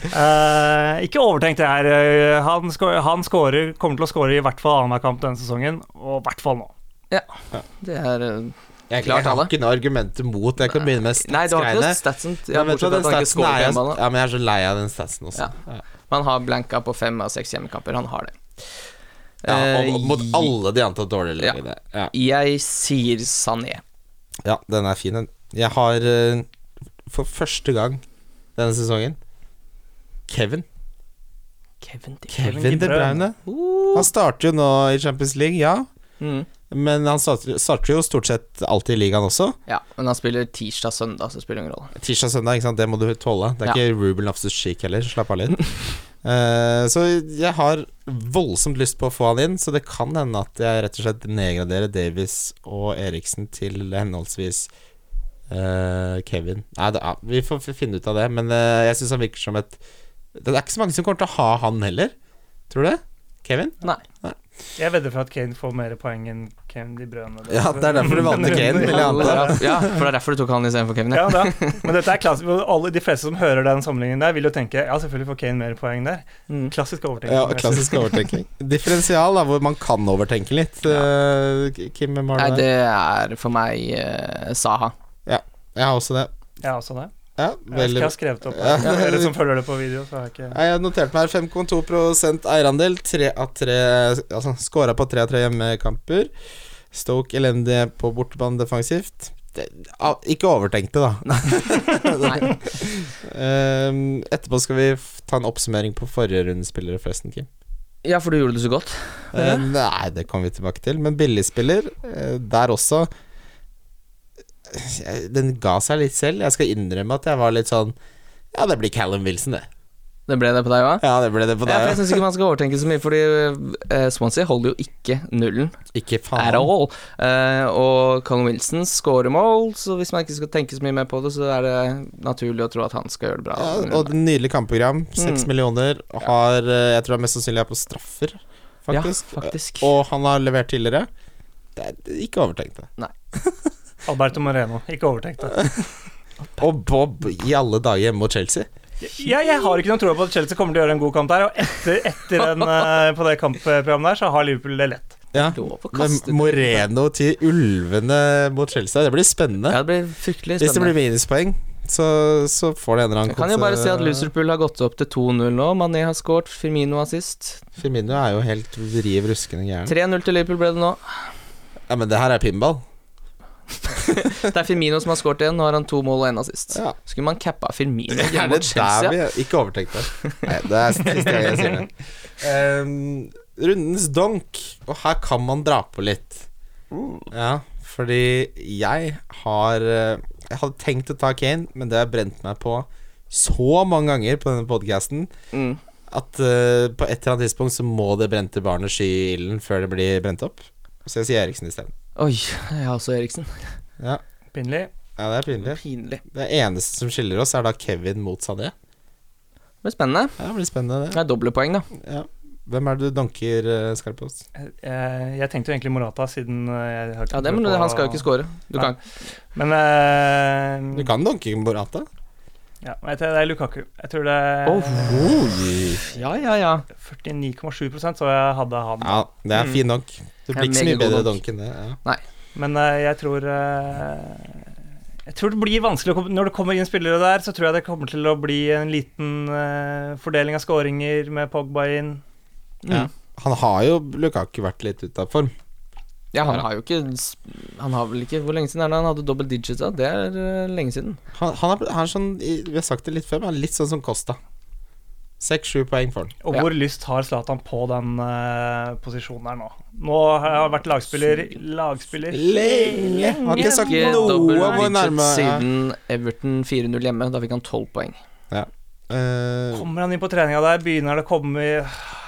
Eh, ikke overtenk det her. eh, Han, skå- han scorer, kommer til å skåre i hvert fall annenhver kamp denne sesongen, og i hvert fall nå.
Det er eh,
Jeg,
Klart
jeg har
alle.
ikke noe argumenter mot. Jeg kan begynne med
Nei, du har ikke
statsgreiene.
noe statsen. Ja,
Ja, vet du hva,
bortsett fra
den
at han ikke
statsen
scorer
er
på
jeg,
hjemmebane.
ja, men jeg er så lei av den statsen også.
Ja. Man har blanka på fem av seks hjemmekamper. Han har det.
Ja, og, og
Eh,
mot alle de antatt dårlige
Ja.
lagene. Ja.
Jeg sier Sané.
ja, den er fin, den. Jeg har eh, for første gang denne sesongen Kevin.
Kevin Dick.
Kevin
Kevin De
De Bruyne.
Bruyne. Han starter jo nå i Champions League, ja.
Mm.
Men han starter, starter jo stort sett alltid i ligaen også.
Ja, men han spiller tirsdag-søndag, så det spiller ingen rolle.
Tirsdag søndag, ikke sant? det må du tåle. Det er
Ja.
ikke Ruben Loftus Cheek heller, slapp [laughs] av litt. Eh, så jeg har voldsomt lyst på å få han inn, så det kan hende at jeg rett og slett nedgraderer Davies og Eriksen til henholdsvis eh, Kevin. Nei, det, ja, vi får f- finne ut av det, men eh, jeg syns han virker som et Det er ikke så mange som kommer til å ha han heller, tror du det? Kevin?
Nei.
Jeg vedder for at Kane får mer poeng enn Kevin De Brøne.
Ja, det er derfor du valgte Kane, vil jeg
Ja,
anta.
for det er derfor du tok han istedenfor Kevin.
Ja,
Ja.
da. Men dette er klassisk. Alle, de fleste som hører den sammenligningen der, vil jo tenke ja, selvfølgelig får Kane mer poeng der.
Mm.
Klassisk overtenking.
Ja,
vil jeg si.
klassisk [laughs] overtenking. Differensial, da, hvor man kan overtenke litt. Eh, Kim, hvem har
Nei,
du der?
det er for meg eh, Saha.
Jeg har også det.
Jeg altså. er også det.
Ja,
Jeg
veldig
skal
bra.
ha skrevet opp
Ja.
det. Dere som følger det på video, så har jeg ikke
Nei, Jeg noterte meg her 5,2 eierandel. Tre av tre Altså skåra på tre av tre hjemmekamper. Stoke elendige på bortebane defensivt. Det, ah, ikke overtenkte, da. [laughs]
Nei.
Ehm, etterpå skal vi f- ta en oppsummering på forrige rundes spillere, forresten, Kim.
Ja, for du gjorde det så godt.
Eh, nei, det kommer vi tilbake til. Men billigspiller, eh, der også eh, Den ga seg litt selv. Jeg skal innrømme at jeg var litt sånn Ja, det blir Callum Wilson, det.
Det ble det på deg òg?
Ja, det ble det på
Ja, for jeg
deg.
syns ikke man skal overtenke så mye, fordi eh, Swansea holder jo ikke nullen.
ja. Ikke
at
faen.
all. Eh, og Colin Wilson scorer mål, så hvis man ikke skal tenke så mye mer på det, så er det naturlig å tro at han skal gjøre det bra.
Ja, og et nydelig kampprogram. Seks
Mm.
millioner. Har eh, Jeg tror han mest sannsynlig er på straffer,
Ja,
faktisk.
faktisk.
Og han har levert tidligere. Det er ikke overtenkt, det.
Alberto Moreno. Ikke overtenkt det.
Og Bob i alle dager hjemme mot Chelsea.
Jeg, jeg har ikke noen tro på at Chelsea kommer til å gjøre en god kamp der. Og etter, etter den, eh, på det kampprogrammet der, så har Liverpool det lett.
Ja.
Lov å
Men
kaste
Moreno til ulvene mot Chelsea, det blir spennende.
Ja, det blir fryktelig
Hvis det blir
spennende.
minuspoeng, så, så får det en eller annen
Jeg kan jo
konse-
bare se at Loserpool har gått opp til 2-0 nå. Mané har scoret, Firmino har sist.
Firmino er jo helt riv ruskende gæren.
3-0 til Liverpool ble det
[laughs]
nå.
Ja, men det her er pinball.
Det er Firmino som har scoret igjen. Nå har han to mål og én assist.
Ja.
Skulle man cappa Firmino
Det er
hjemme mot
der
Chelsea?
vi Ikke overtenkt det. Nei, det er siste gang jeg sier det. Ehm, rundens donk, og her kan man dra på litt. Ja, fordi jeg har eh, Jeg hadde tenkt å ta Kane, men det har jeg brent meg på så mange ganger på denne podkasten.
Mm.
at eh, på et eller annet tidspunkt så må det brente barnet sky i ilden før det blir brent opp. Så jeg sier Eriksen isteden.
Oi, jeg har også Eriksen.
Ja.
Pinlig.
ja, det er pinlig.
Pinlig.
Det eneste som skiller oss, er da Kevin mot Sané.
Det blir spennende.
Ja, det blir spennende,
Det er doble poeng, da.
det. Ja. Hvem er det du donker, eh, Skarpaas?
Jeg, Eh, jeg tenkte jo egentlig Morata, siden eh, jeg har ikke
Ja, det, men
tro på-
han skal jo ikke score. Du
Nei.
kan
Men eh,
Du kan donke Morata.
ja, jeg tror det er Lukaku. Jeg tror det er
Oh.
Oi.
Ja, ja, ja.
49,7 så jeg hadde han.
Ja, det er
Mm.
fin donk. Det
Det er
blir ikke så mye
meget
bedre
god
donk
donk.
enn det. Ja.
Men eh, jeg tror eh, Jeg tror det blir vanskelig å kom- Når det kommer inn spillere der, så tror jeg det kommer til å bli en liten eh, fordeling av skåringer med Pogba inn.
Mm.
Ja. Han har jo Lukaku vært litt ute av form.
Ja, han har jo ikke Han har vel ikke Hvor lenge siden er det han hadde double digits? Da? Det er eh, lenge siden.
Han, han, er, han er sånn, i- Vi har sagt det litt før, men han er litt sånn som Costa. Seks-sju poeng for han.
Og
Ja.
hvor lyst har Zlatan på den eh, posisjonen her nå? Nå har jeg vært lagspiller lagspiller
Lenge! Han har ikke sagt
Ikke
noe om
double
hvor
digits
nærme ja.
siden Everton 4-0 hjemme. Da fikk han 12 poeng.
Eh,
Kommer han inn på treninga der? Begynner det å komme Nei,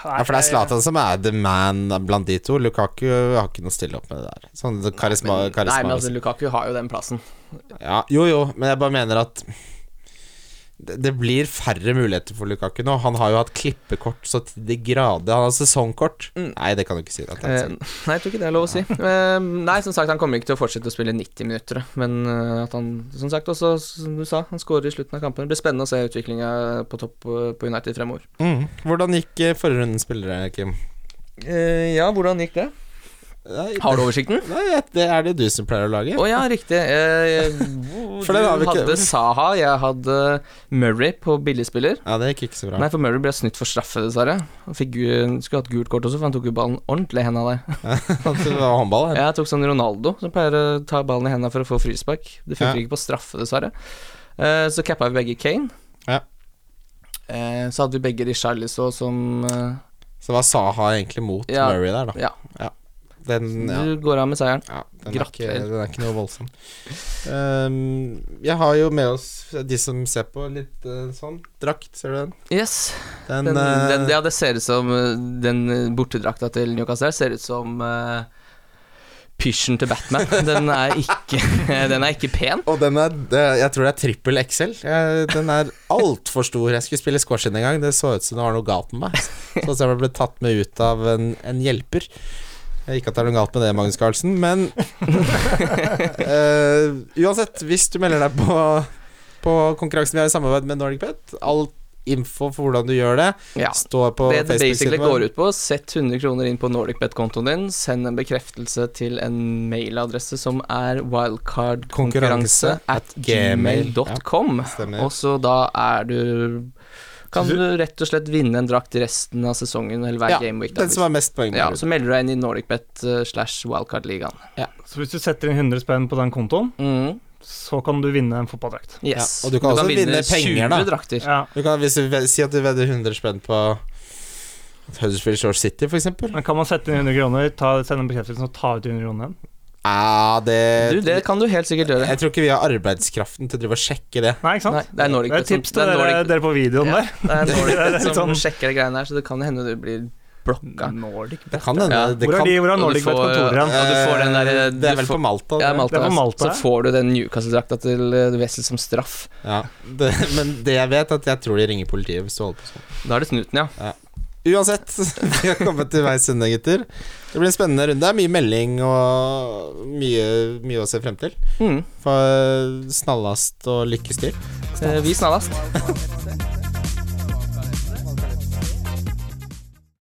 ja, For det er Zlatan som er the man blant de to. Lukaku har ikke noe å stille opp med det der. Sånn karisma,
men, nei, men
karisma
altså, Lukaku har jo den plassen.
ja, Jo, jo, men jeg bare mener at det, det blir færre muligheter for Lukaku nå. Han har jo hatt klippekort så til de grader. Han har sesongkort.
Mm.
Nei, det kan du ikke si. At det
Eh,
er sånn.
[laughs] nei, jeg tror ikke det er lov å si. Eh, nei, som sagt, han kommer ikke til å fortsette å spille 90 minutter. Men eh, at han, som sagt, også, som du sa, han skårer i slutten av kampen. Det blir spennende å se utviklinga på topp eh, på United fremover.
mm. Hvordan gikk eh, forrige rundens spillere, Kim? Eh,
ja, hvordan gikk det?
Nei,
Har du oversikten?
Nei, det er det du som pleier å lage.
Å ja, riktig. Eh,
For den har vi
du
ikke-
hadde Saha, jeg hadde Murray på billigspiller.
Ja, det gikk ikke så bra.
Nei, for Murray ble snytt for straffe, dessverre. Han fikk, gu- skulle hatt gult kort også, for han tok jo ballen ordentlig i henda der.
[laughs] det var håndball. her.
Jeg tok sånn Ronaldo, som pleier å ta ballen i henda for å få frispark. Det funker
Ja.
ikke på straffe, dessverre. Eh, så cappa vi begge Kane.
Ja.
Eh, så hadde vi begge Richarlison som eh,
Så hva sa ha egentlig mot
Ja.
Murray der, da?
Ja.
Den, ja.
Du går av med seieren.
ja den, er ikke,
Gratulerer.
den er ikke noe voldsom. Ehm, jeg har jo med oss de som ser på, litt eh, sånn drakt, ser du den?
Yes.
Den,
Den,
eh,
den, ja, det ser ut som eh, Den eh, bortedrakta til Newcastle her ser ut som uh, pysjen til
[laughs]
Batman. Den er ikke, den er ikke [laughs] pen.
Og den er det- Jeg tror det er trippel XL. Jeg, den [laughs] er altfor stor. Jeg skulle spille squash inn en gang, det så ut som det var noe galt med meg. Sånn som jeg ble tatt med ut av en, en hjelper. Eh, Ikke at det er noe galt med det, Magnus Carlsen, [laughs] men eh, Uansett, hvis du melder deg på, på konkurransen vi har i samarbeid med Nordic Pet, alt info for hvordan du gjør det.
Ja.
Står på
Det det basically
Facebook-siden vår.
går ut på, sett 100 kroner inn på NordicBet-kontoen din, send en bekreftelse til en mailadresse som er wildcardkonkurranse
Konkurranse
at
gmail.
gmail.com.
Stemmer.
Og så da er du Kan du rett og slett vinne en drakt resten av sesongen eller hver
Ja,
gameweek. da,
Den som har mest poeng.
hvis- ja,
der ute.
så melder du deg inn i NordicBet eh, slash wildcard-ligaen.
Så hvis du setter inn 100 spenn på den kontoen,
Mm,
så kan du vinne en fotballdrakt.
yes.
Ja, og du kan også vinne penger, da.
20 drakter.
Ja.
Du kan, hvis du ved- si at du vedder 100 spenn på Huddersfield Shore City, for eksempel.
Men kan man sette inn 100 kroner, ta, sende en bekreftelse og ta ut 100 kroner igjen?
Ja, det,
Du, det kan du helt sikkert
[laughs]
gjøre.
Jeg tror ikke vi har arbeidskraften til å drive og sjekke det.
Nei, ikke sant?
Nei, det er
det er
NordicBet
et
som-
tips til
det er
dere,
Nordic-
dere på videoen
Ja.
der.
Det er
[laughs] Det er
Nordic
litt
som
sånn-
sjekker de greiene her, så det kan hende du blir blokka.
Nordic
Det kan hende.
Ja.
Det
Hvor
kan,
er de, hvor er
Og du
Nordic Vet
får-
kontoret igjen?
Ja, du får den der-
Eh, Det er
du
vel
får-
på Malta.
Ja,
det.
Malta,
Det er på
ja.
Malta, ja.
Så får du den Newcastle-drakta til eh, Wessel som straff.
Ja. Det, men det jeg vet, er at jeg tror de ringer politiet hvis du holder på sånn.
Da er det snuten, ja.
Uansett, [laughs] vi har kommet til veis ende, gutter. Det blir en spennende runde. Det er mye melding og mye, mye å se frem til.
Mm.
For snallast og lykkes til.
Eh, Vi snallast.
Wildcard FC.